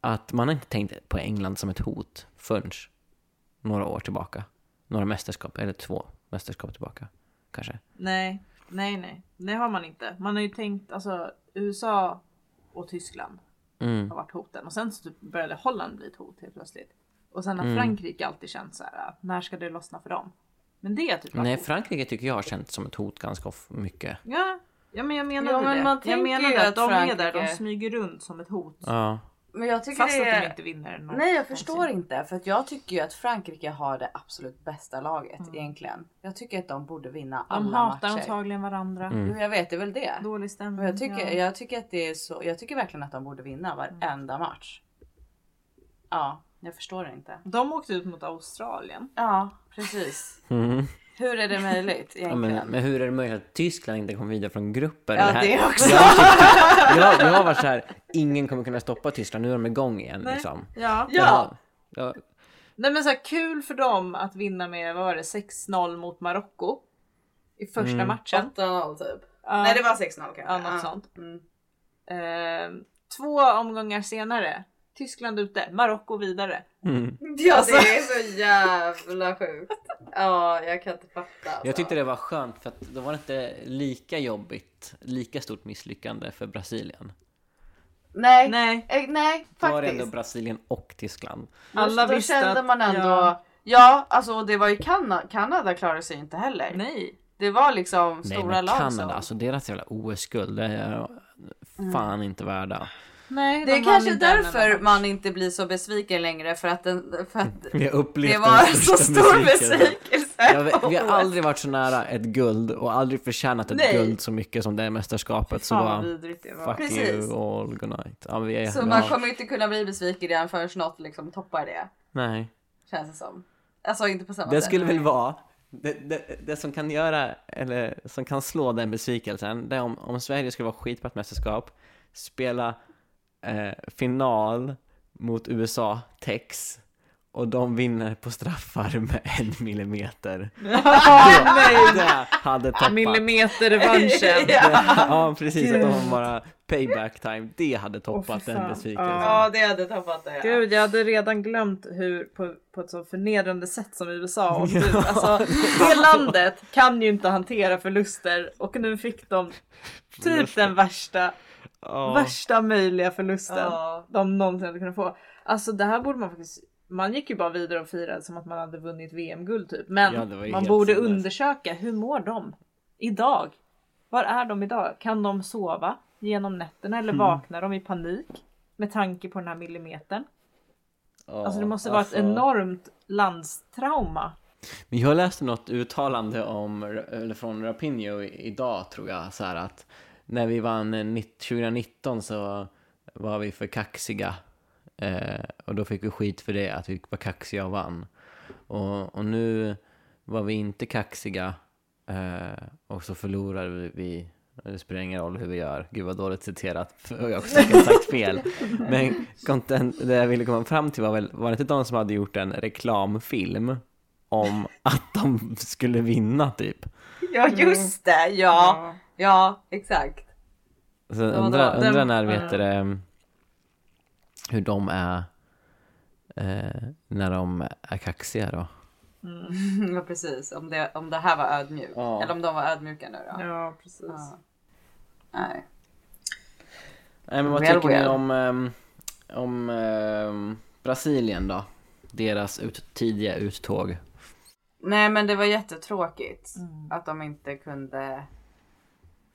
Speaker 5: Att man har inte tänkt på England som ett hot förrän några år tillbaka. Några mästerskap, eller två mästerskap tillbaka kanske.
Speaker 6: Nej, nej, nej. Det har man inte. Man har ju tänkt, alltså USA och Tyskland
Speaker 5: Mm.
Speaker 6: har varit hoten. Och sen så typ började Holland bli ett hot helt plötsligt. Och sen har
Speaker 5: Mm.
Speaker 6: Frankrike alltid känt så här, när ska det lossna för dem? Men det är typ
Speaker 5: Nej,
Speaker 6: hot.
Speaker 5: Frankrike tycker jag har känts som ett hot ganska of- mycket.
Speaker 6: Ja, ja, men jag menade
Speaker 7: Ja, men
Speaker 6: det.
Speaker 7: man
Speaker 6: jag
Speaker 7: tänker ju
Speaker 6: menade att
Speaker 7: att
Speaker 6: de är där, de
Speaker 7: Frankrike-
Speaker 6: smyger runt som ett hot.
Speaker 5: Ja.
Speaker 7: Men jag tycker
Speaker 6: Fast
Speaker 7: det
Speaker 6: att
Speaker 7: är...
Speaker 6: de inte vinner något.
Speaker 7: Nej, jag förstår
Speaker 6: någonsin.
Speaker 7: inte. För att jag tycker ju att Frankrike har det absolut bästa laget egentligen. Jag tycker att Mm. de borde vinna alla
Speaker 6: De hatar
Speaker 7: matcher.
Speaker 6: antagligen varandra.
Speaker 5: Mm.
Speaker 7: Jo, jag vet, det är väl det.
Speaker 6: Dålig stämning.
Speaker 7: Och jag, tycker,
Speaker 6: ja.
Speaker 7: jag, tycker att det är så, jag tycker verkligen att de borde vinna varenda match. Ja, jag förstår det inte.
Speaker 6: De åkte ut mot Australien.
Speaker 7: Ja, precis.
Speaker 5: Mm.
Speaker 7: Hur är det möjligt
Speaker 5: Ja,
Speaker 7: egentligen?
Speaker 5: men, men hur är det möjligt att Tyskland inte kom vidare från gruppen?
Speaker 7: Ja,
Speaker 5: här-
Speaker 7: det också.
Speaker 5: Jag, har tyckt- jag, jag har varit så här, ingen kommer kunna stoppa Tyskland, nu är de igång igen liksom.
Speaker 6: Ja.
Speaker 5: Jag har- Ja,
Speaker 6: Nej men så här, kul för dem att vinna med, vad var det, 6-0 mot Marocko. I första
Speaker 5: Mm.
Speaker 6: matchen.
Speaker 7: 8-0 typ.
Speaker 6: Ja.
Speaker 7: Nej det var 6-0 kanske.
Speaker 6: Ja, något sånt.
Speaker 7: Mm.
Speaker 6: Ehm, två omgångar senare, Tyskland ute, Marocko vidare.
Speaker 5: mm.
Speaker 7: Ja
Speaker 6: Alltså-
Speaker 7: det är så jävla sjukt. Ja jag kan inte fatta. Alltså.
Speaker 5: Jag tyckte det var skönt för att då var det inte lika jobbigt, lika stort misslyckande för Brasilien.
Speaker 7: Nej. Nej.
Speaker 6: Nej,
Speaker 7: Nej
Speaker 5: Då var det ändå
Speaker 7: faktiskt.
Speaker 5: Brasilien och Tyskland.
Speaker 6: alla
Speaker 7: då
Speaker 6: visste
Speaker 7: kände
Speaker 6: att-
Speaker 7: man ändå.
Speaker 6: Ja.
Speaker 7: Ja, alltså och det var ju Kanada. Kanada klarade sig inte heller.
Speaker 6: nej.
Speaker 7: Det var liksom
Speaker 5: Nej
Speaker 7: stora
Speaker 5: men
Speaker 7: lag
Speaker 5: Kanada,
Speaker 7: som-
Speaker 5: alltså deras jävla OS-guld, det är
Speaker 7: Mm.
Speaker 5: fan inte värda.
Speaker 6: nej
Speaker 7: Det
Speaker 6: de
Speaker 7: är kanske
Speaker 6: vann inte en enda
Speaker 7: därför
Speaker 6: match.
Speaker 7: man inte blir så besviken längre för att, den, för att
Speaker 5: Vi har upplevt
Speaker 7: det
Speaker 5: den
Speaker 7: var så
Speaker 5: största
Speaker 7: stor
Speaker 5: besvikelsen. Ja,
Speaker 7: besvikelse.
Speaker 5: vi, vi har aldrig varit så nära ett guld och aldrig förtjänat ett
Speaker 7: Nej.
Speaker 5: guld så mycket som det här mästerskapet. Så
Speaker 6: Fan vad
Speaker 5: bara,
Speaker 6: vidrigt det var.
Speaker 5: fuck
Speaker 7: Precis.
Speaker 5: you all, good night. Ja, men vi är,
Speaker 7: Så
Speaker 5: vi
Speaker 7: man
Speaker 5: har-
Speaker 7: kommer inte kunna bli besviken igen förrän något liksom toppar det.
Speaker 5: Nej.
Speaker 7: Känns det som. Alltså inte på samma
Speaker 5: Det
Speaker 7: sätt.
Speaker 5: skulle väl vara, det, det, det som kan göra, eller som kan slå den besvikelsen, det är om, om Sverige skulle vara skit på ett mästerskap, spela eh, final mot USA, Tex, och de vinner på straffar med en millimeter. Nej! Det hade toppat.
Speaker 6: Millimeterrevanschen.
Speaker 5: ja, precis. Att de har bara payback time. Det hade toppat den
Speaker 6: fan.
Speaker 5: besvikelsen.
Speaker 7: Ja det hade toppat det. ja.
Speaker 6: Gud, jag hade redan glömt hur på, på ett så förnedrande sätt som USA och du, alltså det landet kan ju inte hantera förluster och nu fick de typ den värsta,
Speaker 5: Ja.
Speaker 6: värsta möjliga förlusten
Speaker 7: Ja.
Speaker 6: de någonsin hade kunnat få. Alltså det här borde man faktiskt, man gick ju bara vidare och firade som att man hade vunnit VM-guld typ, men
Speaker 5: Ja, det var ju
Speaker 6: man
Speaker 5: helt
Speaker 6: borde
Speaker 5: sinnes.
Speaker 6: undersöka hur mår de idag? Var är de idag? Kan de sova genom nätterna
Speaker 5: Mm.
Speaker 6: eller vaknar de i panik med tanke på den här millimetern?
Speaker 5: Ja,
Speaker 6: Alltså det måste vara ett
Speaker 5: alltså.
Speaker 6: enormt landstrauma.
Speaker 5: Men jag läste något uttalande om, eller från Rapinho i- idag tror jag, så här att när vi vann eh, nitt- 2019 så var vi för kaxiga eh, och då fick vi skit för det, att vi var kaxiga och vann. Och, och nu var vi inte kaxiga eh, och så förlorade vi- vi. Det spelar ingen roll hur vi gör. Gud vad dåligt citerat. för Jag har också säkert sagt fel. Men content, det jag ville komma fram till var väl, var det inte de som hade gjort en reklamfilm om att de skulle vinna typ?
Speaker 7: Ja just det, ja. Ja exakt.
Speaker 5: Så
Speaker 7: var
Speaker 5: undra,
Speaker 7: det.
Speaker 5: undra när vet du det, hur de är eh, när de är kaxiga då.
Speaker 7: Ja precis. Om det, om det här var ödmjukt.
Speaker 5: Ja.
Speaker 7: Eller om de var ödmjuka nu då.
Speaker 6: Ja precis.
Speaker 7: Ja. Nej.
Speaker 5: Nej, men vad
Speaker 7: Well,
Speaker 5: tycker ni
Speaker 7: well.
Speaker 5: om, ehm, om ehm, Brasilien då? Deras ut, tidiga uttåg.
Speaker 7: Nej men det var jättetråkigt
Speaker 6: Mm.
Speaker 7: att de inte kunde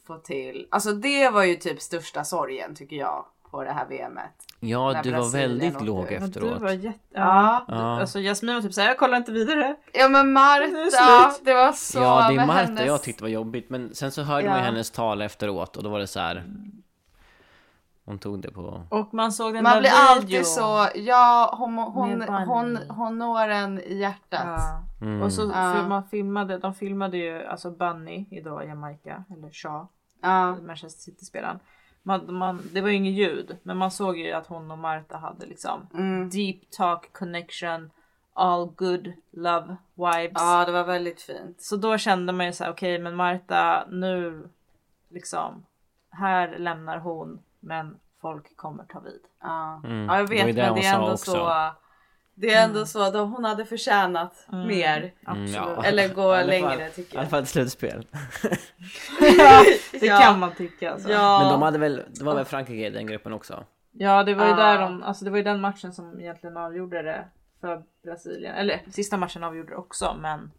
Speaker 7: få till. Alltså det var ju typ största sorgen tycker jag på det här VMet.
Speaker 5: Ja,
Speaker 7: När
Speaker 5: du var
Speaker 7: Brasilien
Speaker 5: väldigt
Speaker 7: åkte
Speaker 5: låg
Speaker 7: ut. Ja,
Speaker 6: Men du
Speaker 5: efteråt.
Speaker 6: var jätte... Ja.
Speaker 7: Ja.
Speaker 5: Ja.
Speaker 6: Alltså Jasmin var typ såhär, jag kollar inte vidare.
Speaker 7: Ja men
Speaker 6: Nu är det
Speaker 7: Marta,
Speaker 6: slut.
Speaker 7: det var så
Speaker 5: ja, det är
Speaker 7: med
Speaker 5: Marta
Speaker 7: hennes-
Speaker 5: jag tyckte var jobbigt. Men sen så hörde man ju
Speaker 7: Ja.
Speaker 5: hennes tal efteråt och då var det så här. Hon tog det på...
Speaker 6: Och man såg den där
Speaker 7: Man blir
Speaker 6: videon.
Speaker 7: alltid så, ja hon, hon,
Speaker 6: Med Bunny.
Speaker 7: hon, hon når en i hjärtat.
Speaker 6: Ja.
Speaker 5: Mm.
Speaker 6: Och så
Speaker 7: Ja.
Speaker 6: för man filmade, de filmade ju alltså Bunny idag i Jamaica, eller Shaw,
Speaker 7: Ja.
Speaker 6: Manchester City-spelaren. Man, man, det var ju inget ljud, men man såg ju att hon och Marta hade liksom
Speaker 7: Mm.
Speaker 6: deep talk connection, all good love vibes.
Speaker 7: ja, det var väldigt fint.
Speaker 6: Så då kände man ju så här, okej men Marta nu liksom, här lämnar hon men folk kommer ta vid.
Speaker 7: Ja,
Speaker 5: Mm.
Speaker 7: ja jag
Speaker 5: Det
Speaker 7: vet
Speaker 5: var ju det
Speaker 7: men
Speaker 5: hon
Speaker 7: det är
Speaker 5: sa
Speaker 7: ändå
Speaker 5: också.
Speaker 7: så. Det är
Speaker 6: Mm.
Speaker 7: ändå så att hon hade förtjänat mer.
Speaker 5: Mm, ja.
Speaker 6: Absolut.
Speaker 7: Eller gå
Speaker 5: I alla fall-
Speaker 7: längre, tycker
Speaker 5: I alla
Speaker 7: jag.
Speaker 5: fall ett slutspel.
Speaker 6: Det
Speaker 7: Ja.
Speaker 6: kan man tycka. Alltså. Ja.
Speaker 7: Ja,
Speaker 5: Men de hade väl, det var väl Frankrike i den gruppen också?
Speaker 6: det var ju
Speaker 7: Ah.
Speaker 6: där de, alltså det var ju den matchen som egentligen avgjorde det för Brasilien. Eller sista matchen avgjorde det också men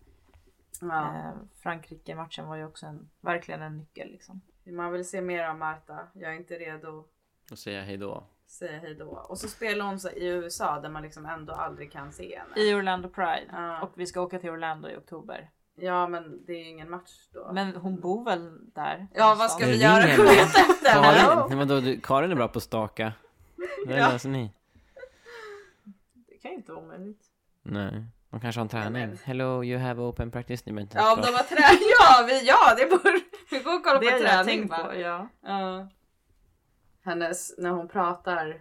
Speaker 7: ja.
Speaker 6: eh, Frankrike matchen var ju också en, verkligen en nyckel liksom.
Speaker 7: Man vill se mer av Marta. Jag är inte redo
Speaker 5: Och säga hej då.
Speaker 7: att säga hej då. Och så spelar hon så i USA där man liksom ändå aldrig kan se henne.
Speaker 6: I Orlando Pride
Speaker 7: Ah.
Speaker 6: och vi ska åka till Orlando i oktober.
Speaker 7: Ja men det är ju ingen match då.
Speaker 6: Men hon bor väl där?
Speaker 7: ja vad ska
Speaker 5: Det
Speaker 7: vi
Speaker 5: ringer
Speaker 7: göra?
Speaker 5: en
Speaker 7: Gå
Speaker 5: bell.
Speaker 7: ut efter
Speaker 5: Karin,
Speaker 7: henne.
Speaker 5: nej, men då, du, Karin är bra på att staka. Det löser ni.
Speaker 6: Det kan ju inte vara omöjligt.
Speaker 5: Nej. De kanske har en träning. Hello, you have open practice. Ni behöver inte
Speaker 7: Ja om de
Speaker 5: prata.
Speaker 7: var trä... Ja, vi, ja det borde... Vi går och kollar
Speaker 6: Det har
Speaker 7: på
Speaker 6: jag
Speaker 7: träning
Speaker 6: tänkt
Speaker 7: va?
Speaker 6: på. Ja.
Speaker 7: Ja. Hennes, när hon pratar,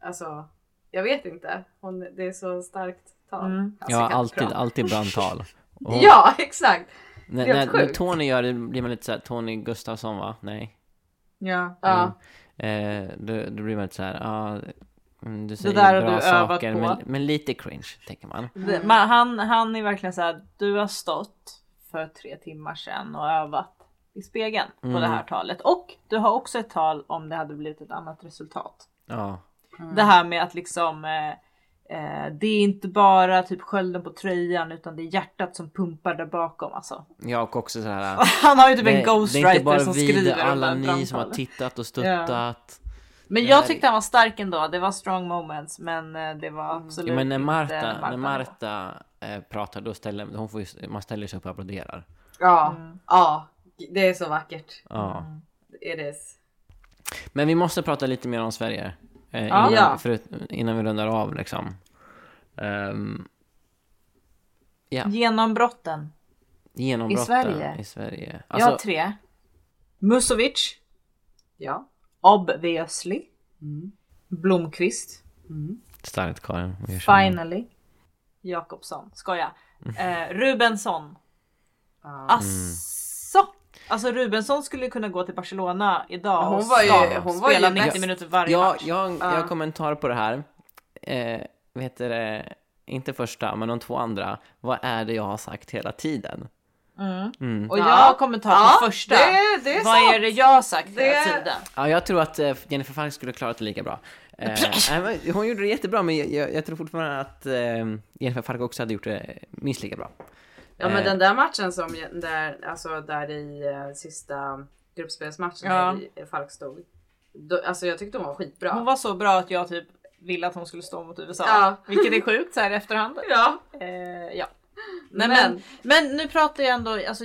Speaker 7: alltså Jag vet inte. Hon, det är så starkt tal.
Speaker 6: Mm.
Speaker 7: Alltså,
Speaker 5: Ja,
Speaker 7: kanske
Speaker 5: alltid,
Speaker 7: bra.
Speaker 5: alltid brandtal. Och hon-
Speaker 7: Ja, exakt.
Speaker 5: när,
Speaker 7: helt
Speaker 5: när, när
Speaker 7: sjukt.
Speaker 5: Tony gör det blir man lite såhär, Tony Gustafsson va? Nej.
Speaker 6: Ja.
Speaker 7: Ja.
Speaker 5: Eh, då, då blir man lite såhär, ja, mm, du säger
Speaker 6: där har
Speaker 5: bra
Speaker 6: du övat
Speaker 5: saker
Speaker 6: på.
Speaker 5: men, men lite cringe, tänker man.
Speaker 7: Mm.
Speaker 6: Det- Man, han, han är verkligen så här. du har stått för tre timmar sedan och övat i spegeln på
Speaker 5: Mm.
Speaker 6: det här talet. Och du har också ett tal om det hade blivit ett annat resultat.
Speaker 5: Ja.
Speaker 6: Det här med att liksom eh, eh, det är inte bara typ skölden på tröjan utan det är hjärtat som pumpar där bakom alltså.
Speaker 5: Jag och också såhär,
Speaker 6: Han har ju typ
Speaker 5: det,
Speaker 6: en
Speaker 5: det är inte
Speaker 6: ghostwriter
Speaker 5: bara
Speaker 6: som
Speaker 5: vi, det
Speaker 6: skriver
Speaker 5: är alla
Speaker 6: under
Speaker 5: ni som har
Speaker 6: brandtalet.
Speaker 5: tittat och stöttat.
Speaker 6: Men jag tyckte han var stark ändå. Det var strong moments men eh, det var
Speaker 7: Mm.
Speaker 6: absolut
Speaker 5: Ja, men när Marta,
Speaker 6: inte
Speaker 5: när Marta eh, pratar, då ställer hon får ju, man ställer sig upp och applåderar.
Speaker 7: Ja. ja, det är så vackert.
Speaker 5: Ja.
Speaker 7: It is.
Speaker 5: Men vi måste prata lite mer om Sverige. Eh,
Speaker 6: Ja.
Speaker 5: innan,
Speaker 7: Ja.
Speaker 5: förut, innan vi rundar av liksom. Ehm,
Speaker 6: Genombrotten.
Speaker 5: genombrotten
Speaker 6: I Sverige? typ.
Speaker 5: I Sverige.
Speaker 6: Jag har
Speaker 5: Alltså,
Speaker 6: tre. Musovic.
Speaker 7: Ja. Mm.
Speaker 6: Obviously. Blomqvist.
Speaker 5: starkt Karin. Vi gör så.
Speaker 6: Finally. Jakobsson. Skoja. Eh, Rubensson. Asså! Alltså Rubensson skulle kunna gå till Barcelona idag
Speaker 7: Hon
Speaker 6: och
Speaker 7: var ju-
Speaker 6: ska
Speaker 7: hon var ju
Speaker 6: spela
Speaker 7: bäst.
Speaker 6: 90 minuter varje
Speaker 5: Ja,
Speaker 6: match.
Speaker 5: jag, jag har kommentar på det här. Eh, vad heter det? Inte första, men de två andra. Vad är det jag har sagt hela tiden?
Speaker 6: Och jag
Speaker 7: Ja.
Speaker 6: har kommentar på
Speaker 7: Ja,
Speaker 6: första.
Speaker 7: det- det är
Speaker 6: Vad
Speaker 7: sant.
Speaker 6: är det jag har sagt hela
Speaker 7: Det-
Speaker 6: tiden?
Speaker 5: Ja, jag tror att eh, Jennifer Falk skulle klarat det lika bra. Eh, nej, men hon gjorde det jättebra, men jag, jag, jag tror fortfarande att eh, Jennifer Falk också hade gjort det minst lika bra.
Speaker 7: Ja men
Speaker 5: Eh.
Speaker 7: den där matchen som där, alltså där i eh, sista gruppspelsmatchen
Speaker 6: Ja.
Speaker 7: där Falk stod. Då, alltså jag tyckte hon var skitbra.
Speaker 6: Hon var så bra att jag typ ville att hon skulle stå mot USA.
Speaker 7: Ja.
Speaker 6: Vilket är sjukt så här i efterhand.
Speaker 7: Ja.
Speaker 6: Eh, ja. Nej, men, men,
Speaker 7: Men-
Speaker 6: nu pratar jag ändå alltså,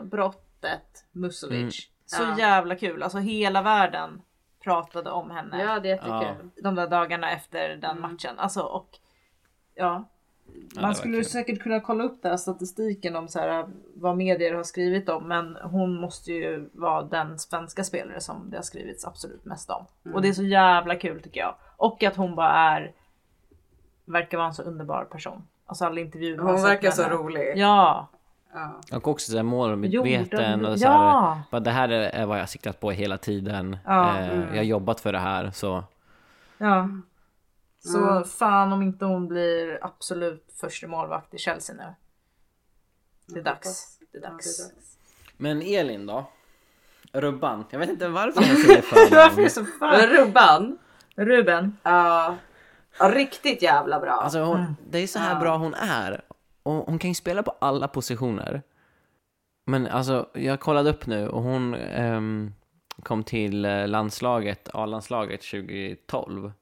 Speaker 6: genombrottet Musovic.
Speaker 7: Mm.
Speaker 6: Så
Speaker 7: Ja.
Speaker 6: jävla kul. Alltså hela världen pratade om henne
Speaker 7: Ja det är jättekul. Mm.
Speaker 6: de där dagarna efter den matchen. Alltså och ja. Man
Speaker 5: var
Speaker 6: skulle
Speaker 5: kul.
Speaker 6: säkert kunna kolla upp den här statistiken om så här, äh, vad medier har skrivit om men hon måste ju vara den svenska spelare som det har skrivits absolut mest om.
Speaker 7: Mm.
Speaker 6: Och det är så jävla kul tycker jag. Och att hon bara är, verkar vara en så underbar person. Alltså alla intervjuer man har
Speaker 7: Hon
Speaker 6: sett
Speaker 7: verkar
Speaker 6: med
Speaker 7: så
Speaker 6: henne.
Speaker 7: rolig.
Speaker 6: Ja,
Speaker 5: Och också så här målmedveten
Speaker 6: Jorden-
Speaker 5: och så här,
Speaker 6: ja.
Speaker 5: bara, det här är vad jag har siktat på hela tiden.
Speaker 6: Ja. mm.
Speaker 5: eh, Jag har jobbat för det här så.
Speaker 6: ja. Så
Speaker 7: Mm.
Speaker 6: fan om inte hon blir absolut första målvakt i Chelsea nu. Det är dags. Det är dags.
Speaker 7: Ja, det är dags.
Speaker 5: Men Elin då? Rubban. Jag vet inte varför jag säger förnamn.
Speaker 6: så
Speaker 7: Men Rubban.
Speaker 6: Ruben.
Speaker 7: Ja. Ja, riktigt jävla bra.
Speaker 5: Alltså hon, det är så här bra hon är. Och hon kan ju spela på alla positioner. Men alltså, jag kollade upp nu och hon ehm, kom till eh, landslaget, A-landslaget 2012.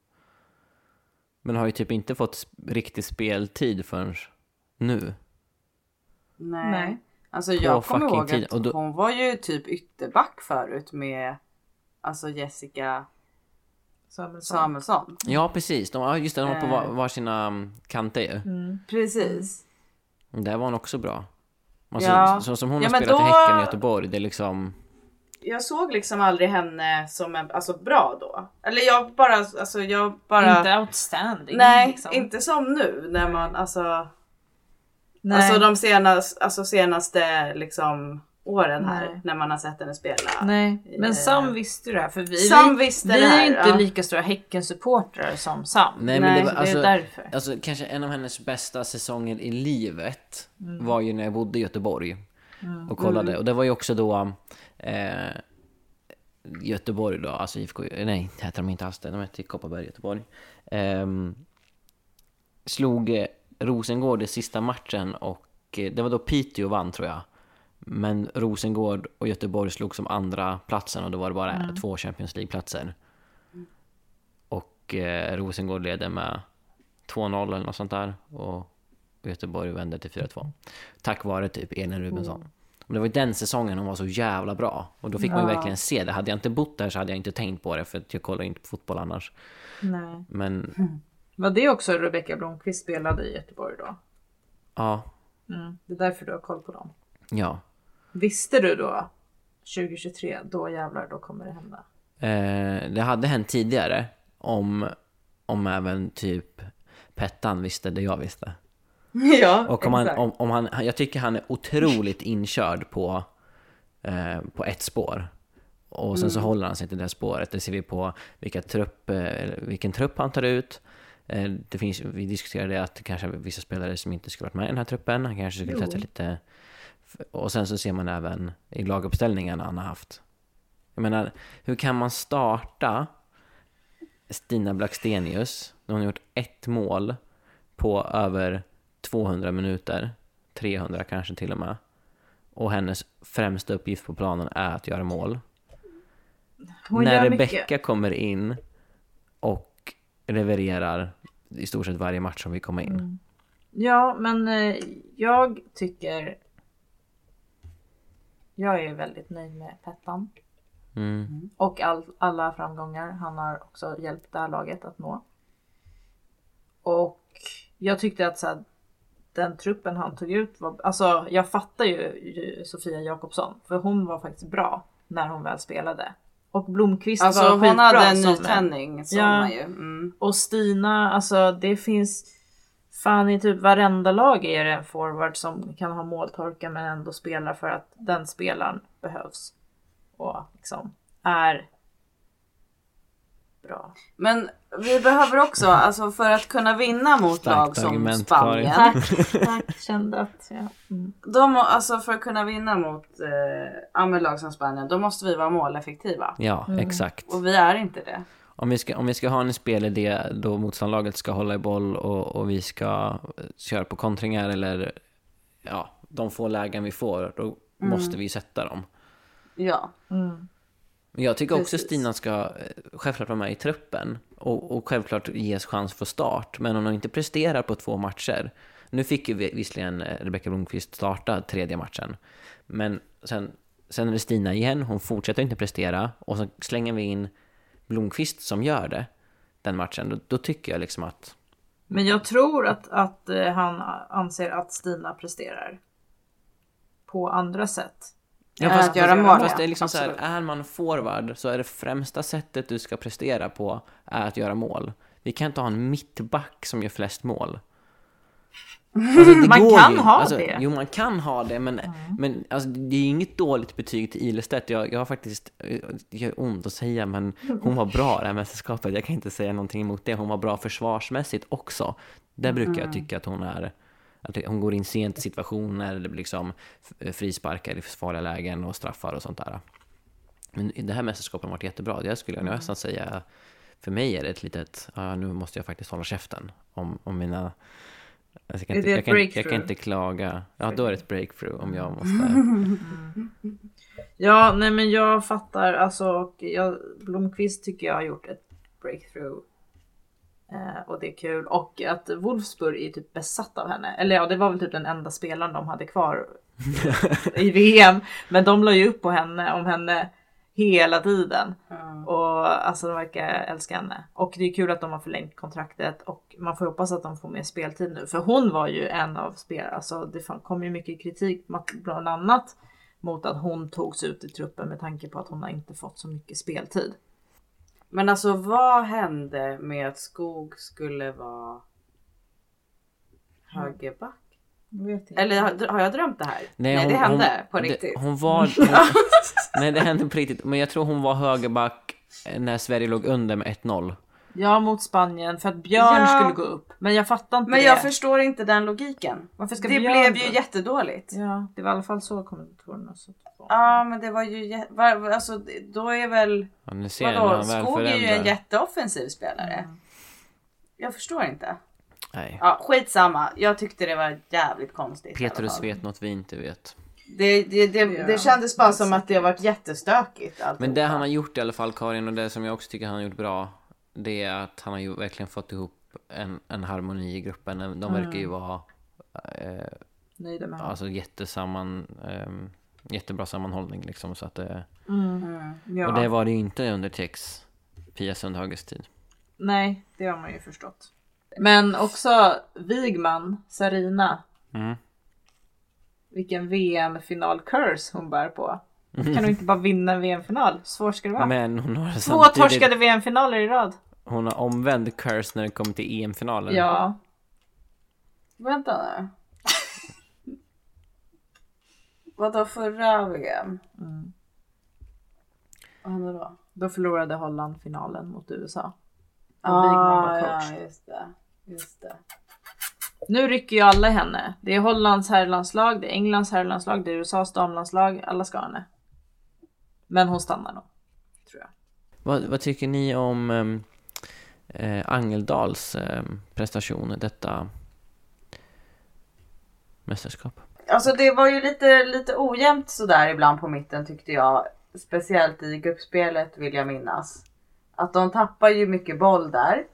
Speaker 5: Men har ju typ inte fått sp- riktig speltid förrän nu.
Speaker 7: Nej.
Speaker 6: Nej.
Speaker 7: Alltså
Speaker 5: På
Speaker 7: jag kommer
Speaker 5: fucking
Speaker 7: ihåg
Speaker 5: tid.
Speaker 7: att
Speaker 5: Och då-
Speaker 7: hon var ju typ ytterback förut med alltså Jessica
Speaker 6: Samuelsson.
Speaker 7: Samuelsson.
Speaker 5: Ja, precis. De, ja, just det, de var på
Speaker 7: Eh.
Speaker 5: var, varsina mm, kanter ju.
Speaker 7: Precis.
Speaker 5: Där var hon också bra. Alltså,
Speaker 7: Ja.
Speaker 5: Så som hon
Speaker 7: Ja,
Speaker 5: har
Speaker 7: men
Speaker 5: spelat i
Speaker 7: då-
Speaker 5: Häcken i Göteborg, det är liksom...
Speaker 7: Jag såg liksom aldrig henne som en, alltså bra då. Eller jag bara, alltså jag bara.
Speaker 6: Inte outstanding.
Speaker 7: nej,
Speaker 6: liksom.
Speaker 7: inte som nu när man alltså.
Speaker 6: Nej.
Speaker 7: Alltså de senaste, alltså senaste liksom åren här
Speaker 6: Nej.
Speaker 7: när man har sett henne spela.
Speaker 6: nej.
Speaker 5: Eh,
Speaker 6: Men Sam visste det här för vi,
Speaker 7: Sam
Speaker 6: vi,
Speaker 7: visste
Speaker 6: vi
Speaker 7: det här,
Speaker 6: är inte
Speaker 7: ja.
Speaker 6: lika stora Häcken-supportrar som Sam.
Speaker 5: Nej, men
Speaker 7: Nej,
Speaker 5: det var,
Speaker 6: så det är
Speaker 5: alltså,
Speaker 6: därför.
Speaker 5: alltså kanske en av hennes bästa säsonger i livet var ju när jag bodde i Göteborg
Speaker 6: Mm.
Speaker 5: och kollade. Och det var ju också då eh, Göteborg då, alltså IFK, nej det heter de inte alls det, de heter Kopparberg Göteborg. Ehm, slog eh, Rosengård i sista matchen och eh, det var då Piteå vann tror jag. Men Rosengård och Göteborg slog som andra platsen och då var det bara två Champions League-platser. Och eh, Rosengård ledde med 2-0 eller något sånt där. Och Göteborg vände till 4-2. Tack vare typ Elin Rubensson. Men det var ju den säsongen hon var så jävla bra. Och då fick man ju verkligen se det. Hade jag inte bott där så hade jag inte tänkt på det. För att jag kollar ju inte på fotboll annars.
Speaker 6: Nej.
Speaker 5: Men
Speaker 6: Var det också Rebecca Blomqvist spelade i Göteborg då?
Speaker 5: ja,
Speaker 6: Det är därför du har koll på dem.
Speaker 5: ja.
Speaker 6: Visste du då 2023, då jävlar då kommer det hända.
Speaker 5: Eh, det hade hänt tidigare om om även typ Pettan visste det jag visste.
Speaker 7: ja,
Speaker 5: Och om han,
Speaker 7: exakt.
Speaker 5: om, om han, han- jag tycker han är otroligt inkörd på, eh, på ett spår. Och sen så
Speaker 7: Mm.
Speaker 5: håller han sig till det här spåret. Det ser vi på vilka trupp, eh, eller vilken trupp han tar ut. Eh, det finns, vi diskuterade att det kanske är vissa spelare som inte skulle varit med i den här truppen. Han kanske skulle testa lite. Och sen så ser man även i laguppställningarna han har haft. Jag menar, hur kan man starta Stina Blackstenius när hon har gjort ett mål på över 200 minuter, 300 kanske till och med. Och hennes främsta uppgift på planen är att göra mål.
Speaker 6: Hon
Speaker 5: när
Speaker 6: gör mycket.
Speaker 5: Rebecka kommer in och levererar i stort sett varje match som vi kommer in.
Speaker 6: Mm. Ja, men eh, jag tycker... Jag är väldigt nöjd med Pettan.
Speaker 5: Mm.
Speaker 6: Och all, alla framgångar han har också hjälpt det här laget att nå. Och jag tyckte att så här, den truppen han tog ut var... Alltså jag fattar ju, ju Sofia Jakobsson. För hon var faktiskt bra när hon väl spelade. Och Blomqvist
Speaker 7: Alltså
Speaker 6: var
Speaker 7: hon
Speaker 6: skitbra
Speaker 7: hade en
Speaker 6: som-
Speaker 7: nytändning som
Speaker 6: Ja.
Speaker 7: man ju. Mm.
Speaker 6: och Stina, alltså det finns fan i typ varenda lag är det en forward som kan ha måltorka men ändå spelar för att den spelaren behövs. Och liksom är bra.
Speaker 7: Men vi behöver också, alltså för att kunna vinna mot
Speaker 5: Starkt
Speaker 7: lag som
Speaker 5: argument,
Speaker 7: Spanien.
Speaker 5: Karin.
Speaker 6: Tack, kände att jag...
Speaker 7: De, må- alltså för att kunna vinna mot eh, ja, men lag som Spanien, då måste vi vara måleffektiva.
Speaker 5: Ja,
Speaker 6: Mm.
Speaker 5: exakt.
Speaker 7: Och vi är inte det.
Speaker 5: Om vi, ska, om vi ska ha en spelidé då motståndarlaget ska hålla i boll och, och vi ska eh, köra på kontringar eller ja, de få lägen vi får, då måste vi sätta dem.
Speaker 7: Ja.
Speaker 5: Men jag tycker också
Speaker 7: Precis.
Speaker 5: Stina ska eh, självklart vara med i truppen och, och självklart ges chans för start. Men om hon inte presterar på två matcher. Nu fick ju vi- visserligen eh, Rebecka Blomqvist starta tredje matchen. Men sen, sen är det Stina igen, hon fortsätter inte prestera och så slänger vi in Blomqvist som gör det den matchen. Då, då tycker jag liksom att
Speaker 6: Men jag tror att, att eh, han anser att Stina presterar. På andra sätt.
Speaker 5: Ja,
Speaker 7: Än
Speaker 5: fast,
Speaker 7: att göra mål,
Speaker 5: Fast det är
Speaker 7: ja.
Speaker 5: liksom så här,
Speaker 7: Absolut.
Speaker 5: är man forward så är det främsta sättet du ska prestera på är att göra mål. Vi kan inte ha en mittback som gör flest mål. Alltså, det
Speaker 6: Man
Speaker 5: går
Speaker 6: kan ha
Speaker 5: alltså,
Speaker 6: det.
Speaker 5: Jo, man kan ha det, men, men alltså, det är ju inget dåligt betyg till Ilestedt. Jag, jag har faktiskt, det gör ont att säga, men hon var bra det här mästerskapet. Jag kan inte säga någonting emot det. Hon var bra försvarsmässigt också. Där brukar
Speaker 6: Mm.
Speaker 5: jag tycka att hon är, att hon går in sent i situationer, eller liksom f- frisparkar i farliga lägen och straffar och sånt där. Men i det här mästerskapet har varit jättebra. Jag skulle mm. nästan säga, för mig är det ett litet, ja, nu måste jag faktiskt hålla käften om, om mina... Alltså, jag, kan
Speaker 6: Är
Speaker 5: inte,
Speaker 6: det
Speaker 5: jag,
Speaker 6: ett
Speaker 5: kan, jag
Speaker 6: breakthrough?
Speaker 5: kan inte klaga. Ja, då är det ett breakthrough om jag måste...
Speaker 6: Ja, nej men jag fattar alltså och jag, Blomqvist tycker jag har gjort ett breakthrough. Eh, och det är kul och att Wolfsburg är typ besatt av henne. Eller ja, det var väl typ den enda spelaren de hade kvar i VM. Men de la ju upp på henne om henne hela tiden. Och alltså de verkar älska henne. Och det är kul att de har förlängt kontraktet och man får hoppas att de får mer speltid nu. För hon var ju en av spelarna, alltså det fan- kom ju mycket kritik bland annat mot att hon togs ut i truppen med tanke på att hon har inte fått så mycket speltid.
Speaker 7: Men alltså vad hände med att Skog skulle vara högerback? Eller har, har jag drömt det här? Nej, det hände på
Speaker 5: det-
Speaker 7: riktigt.
Speaker 5: hon var... Hon, nej, det hände på riktigt. Men jag tror hon var högerback när Sverige låg under med 1-0.
Speaker 6: Ja mot Spanien för att Björn
Speaker 7: Ja.
Speaker 6: skulle gå upp. Men jag fattar inte
Speaker 7: Men jag
Speaker 6: det.
Speaker 7: förstår inte den logiken.
Speaker 6: Varför ska
Speaker 7: det
Speaker 6: Björn
Speaker 7: blev
Speaker 6: gå
Speaker 7: ju
Speaker 6: upp?
Speaker 7: jättedåligt. Ja
Speaker 6: Ja, det var i alla fall så kommentatorerna satt på.
Speaker 7: men det var ju jä- var, var- alltså det- då är väl
Speaker 5: Ja, nu ser jag när
Speaker 7: vadå
Speaker 5: han väl
Speaker 7: Skog är ju en
Speaker 5: förändrar.
Speaker 7: jätteoffensiv spelare. Jag förstår inte.
Speaker 5: Nej.
Speaker 7: Ja skitsamma. Jag tyckte det var jävligt konstigt. i alla
Speaker 5: Petrus
Speaker 7: fall.
Speaker 5: vet något vi inte vet.
Speaker 7: Det, det, det, det kändes bara som att det har varit jättestökigt.
Speaker 5: Men det
Speaker 7: alltihopa.
Speaker 5: han har gjort i alla fall, Karin, och det som jag också tycker han har gjort bra, det är att han har ju verkligen fått ihop en, en harmoni i gruppen. De verkar ju vara
Speaker 6: Mm.
Speaker 5: eh,
Speaker 6: Nöjda med honom.
Speaker 5: alltså, jättesamman, ehm, jättebra sammanhållning liksom. Så att, det-
Speaker 6: Mm. Ja.
Speaker 5: Och det var det ju inte under Tex Pia Sundhages tid.
Speaker 6: Nej, det har man ju förstått. Men också Wigman, Sarina.
Speaker 5: Mm.
Speaker 6: Vilken VM-final-curse hon bär på. Kan hon inte bara vinna en VM-final? Svårt ska det vara.
Speaker 5: Men hon har
Speaker 6: Två
Speaker 5: samtidigt...
Speaker 6: torskade VM-finaler i rad.
Speaker 5: Hon har omvänd curse när det kommer till EM-finalen.
Speaker 6: Ja.
Speaker 7: Vänta nu. Vadå förra VM? Vad hände då?
Speaker 6: Mm. Då förlorade Holland finalen mot USA. Och Wigman
Speaker 7: Ah,
Speaker 6: var coach.
Speaker 7: ja, just det. Just det.
Speaker 6: Nu rycker ju alla i henne. Det är Hollands herrlandslag, det är Englands herrlandslag, det är USAs damlandslag. Alla ska ha henne. Men hon stannar nog. Tror jag.
Speaker 5: Vad, vad tycker ni om ehm, eh, Angeldals ehm, prestation i detta mästerskap?
Speaker 7: Alltså det var ju lite, lite ojämnt sådär ibland på mitten tyckte jag. Speciellt i gruppspelet vill jag minnas. Att de tappar ju mycket boll där.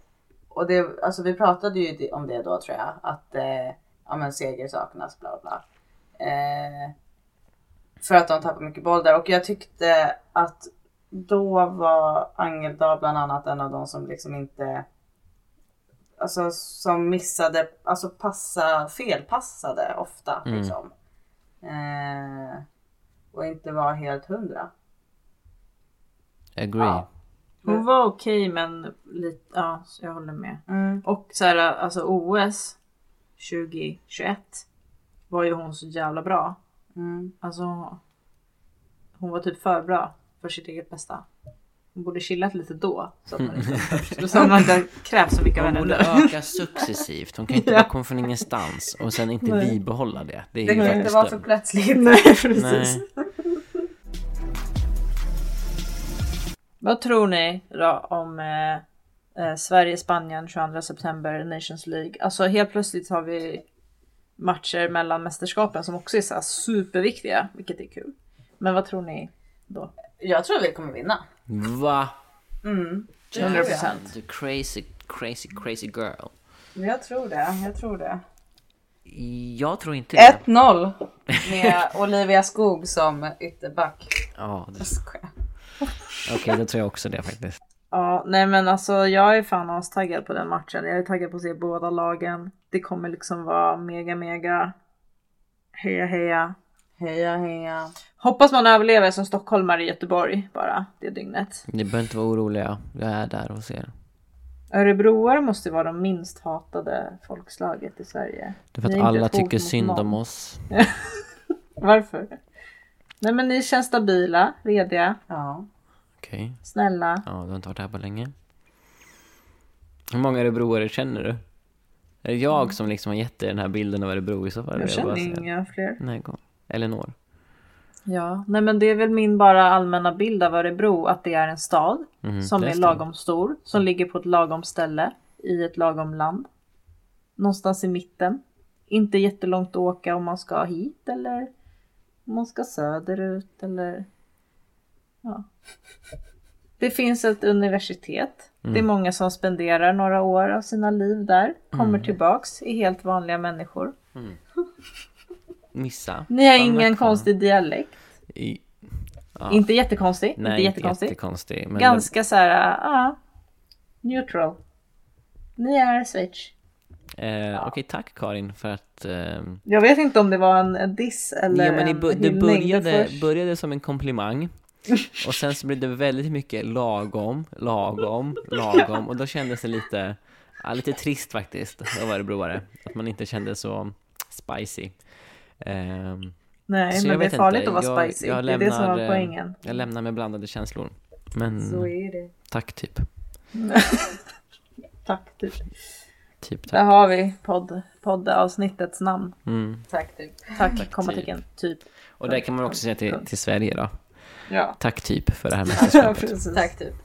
Speaker 7: Och det, alltså vi pratade ju om det då tror jag. Att eh, ja, men seger saknas bla bla. Eh, för att de tappar mycket boll där. Och jag tyckte att då var Angeldal bland annat en av de som liksom inte Alltså som missade, alltså passa, felpassade ofta
Speaker 5: Mm.
Speaker 7: liksom. Eh, och inte var helt hundra.
Speaker 5: Agree.
Speaker 7: Ja.
Speaker 6: Hon var okej men lite, ja så jag håller med. Och så här, alltså OS 2021 var ju hon så jävla bra.
Speaker 7: Mm.
Speaker 6: Alltså hon var typ för bra för sitt eget bästa. Hon borde chillat lite då. Så att man inte, så att man inte krävs så mycket av
Speaker 5: Hon
Speaker 6: henne
Speaker 5: borde
Speaker 6: nu.
Speaker 5: öka successivt. Hon kan inte bara komma från ingenstans och sen inte bibehålla det. Det är
Speaker 7: Det
Speaker 5: ju
Speaker 7: kan inte
Speaker 5: faktiskt
Speaker 7: vara för
Speaker 5: dumt.
Speaker 7: plötsligt.
Speaker 5: Nej.
Speaker 6: Vad tror ni då om eh, eh, Sverige-Spanien 22 september Nations League? Alltså helt plötsligt har vi matcher mellan mästerskapen som också är så här superviktiga, vilket är kul. Men vad tror ni då?
Speaker 7: Jag tror vi kommer vinna.
Speaker 5: Va?
Speaker 6: 100 procent.
Speaker 5: Du crazy, crazy, crazy girl.
Speaker 7: Jag tror det, jag tror det.
Speaker 5: Jag tror inte det.
Speaker 7: 1-0 med Olivia Skog som ytterback.
Speaker 5: Ja, det-
Speaker 7: Skojar.
Speaker 5: Okej, då tror jag också det faktiskt.
Speaker 6: Ja, nej men alltså jag är fan astaggad på den matchen. Jag är taggad på att se båda lagen. Det kommer liksom vara mega mega heja heja.
Speaker 7: Heja heja.
Speaker 6: Hoppas man överlever som stockholmare i Göteborg bara det dygnet.
Speaker 5: Ni behöver inte vara oroliga. Jag är där och ser.
Speaker 6: Örebroare måste vara de minst hatade folkslaget i Sverige.
Speaker 5: Det är för att
Speaker 6: Ni är inte
Speaker 5: alla
Speaker 6: ett hot
Speaker 5: tycker
Speaker 6: mot
Speaker 5: synd
Speaker 6: någon.
Speaker 5: om oss.
Speaker 6: Varför? Nej men ni känns stabila, rediga,
Speaker 7: Ja.
Speaker 5: Okej.
Speaker 6: snälla.
Speaker 5: Ja, du har inte varit här på länge. Hur många örebroare känner du? Är det jag som liksom har gett dig den här bilden av Örebro i så fall?
Speaker 6: Jag
Speaker 5: bara
Speaker 6: känner
Speaker 5: säger-
Speaker 6: inga fler.
Speaker 5: Nej, gå. Elinor.
Speaker 6: Ja, nej men det är väl min bara allmänna bild av Örebro att det är en stad
Speaker 5: Mhm,
Speaker 6: som
Speaker 5: det
Speaker 6: är
Speaker 5: stämmer.
Speaker 6: lagom stor, som ligger på ett lagom ställe i ett lagom land. Någonstans i mitten. Inte jättelångt att åka om man ska hit eller om man ska söderut eller ja. Det finns ett universitet. Det är många som spenderar några år av sina liv där, kommer tillbaks, är helt vanliga människor.
Speaker 5: Missa.
Speaker 6: Ni har
Speaker 5: Stanna
Speaker 6: ingen
Speaker 5: kvar.
Speaker 6: konstig dialekt.
Speaker 5: I... Ja.
Speaker 6: Inte jättekonstig,
Speaker 5: Nej,
Speaker 6: inte jättekonstig.
Speaker 5: jättekonstig. Men
Speaker 6: Ganska så här, ja, neutral. Ni är Schweiz.
Speaker 5: Eh, Okej, tack Karin för att... ehm,
Speaker 6: Jag vet inte om det var en en diss eller
Speaker 5: ja, men det,
Speaker 6: en
Speaker 5: bu- det
Speaker 6: hyllning.
Speaker 5: började,
Speaker 6: först-
Speaker 5: började som en komplimang. Och sen så blev det väldigt mycket lagom, lagom, lagom. Och då kändes det lite, ja, lite trist faktiskt av örebroare. Att man inte kände så spicy. Ehm,
Speaker 6: Nej,
Speaker 5: så jag
Speaker 6: men det är
Speaker 5: vet
Speaker 6: farligt
Speaker 5: inte.
Speaker 6: att vara
Speaker 5: Jag-
Speaker 6: spicy.
Speaker 5: jag
Speaker 6: det är det som
Speaker 5: lämnar,
Speaker 6: var
Speaker 5: eh,
Speaker 6: poängen.
Speaker 5: Jag lämnar med blandade känslor. Men
Speaker 6: Så är det.
Speaker 5: tack typ.
Speaker 6: Tack du.
Speaker 5: Typ
Speaker 6: Där
Speaker 5: tack.
Speaker 6: har vi podd, poddavsnittets namn.
Speaker 5: Mm.
Speaker 7: Tack typ.
Speaker 6: Tack, kommatecken, typ.
Speaker 5: Och det kan man också säga till, till Sverige då.
Speaker 6: Ja,
Speaker 5: Tack typ för det här mästerskapet.
Speaker 6: precis.
Speaker 7: Tack typ.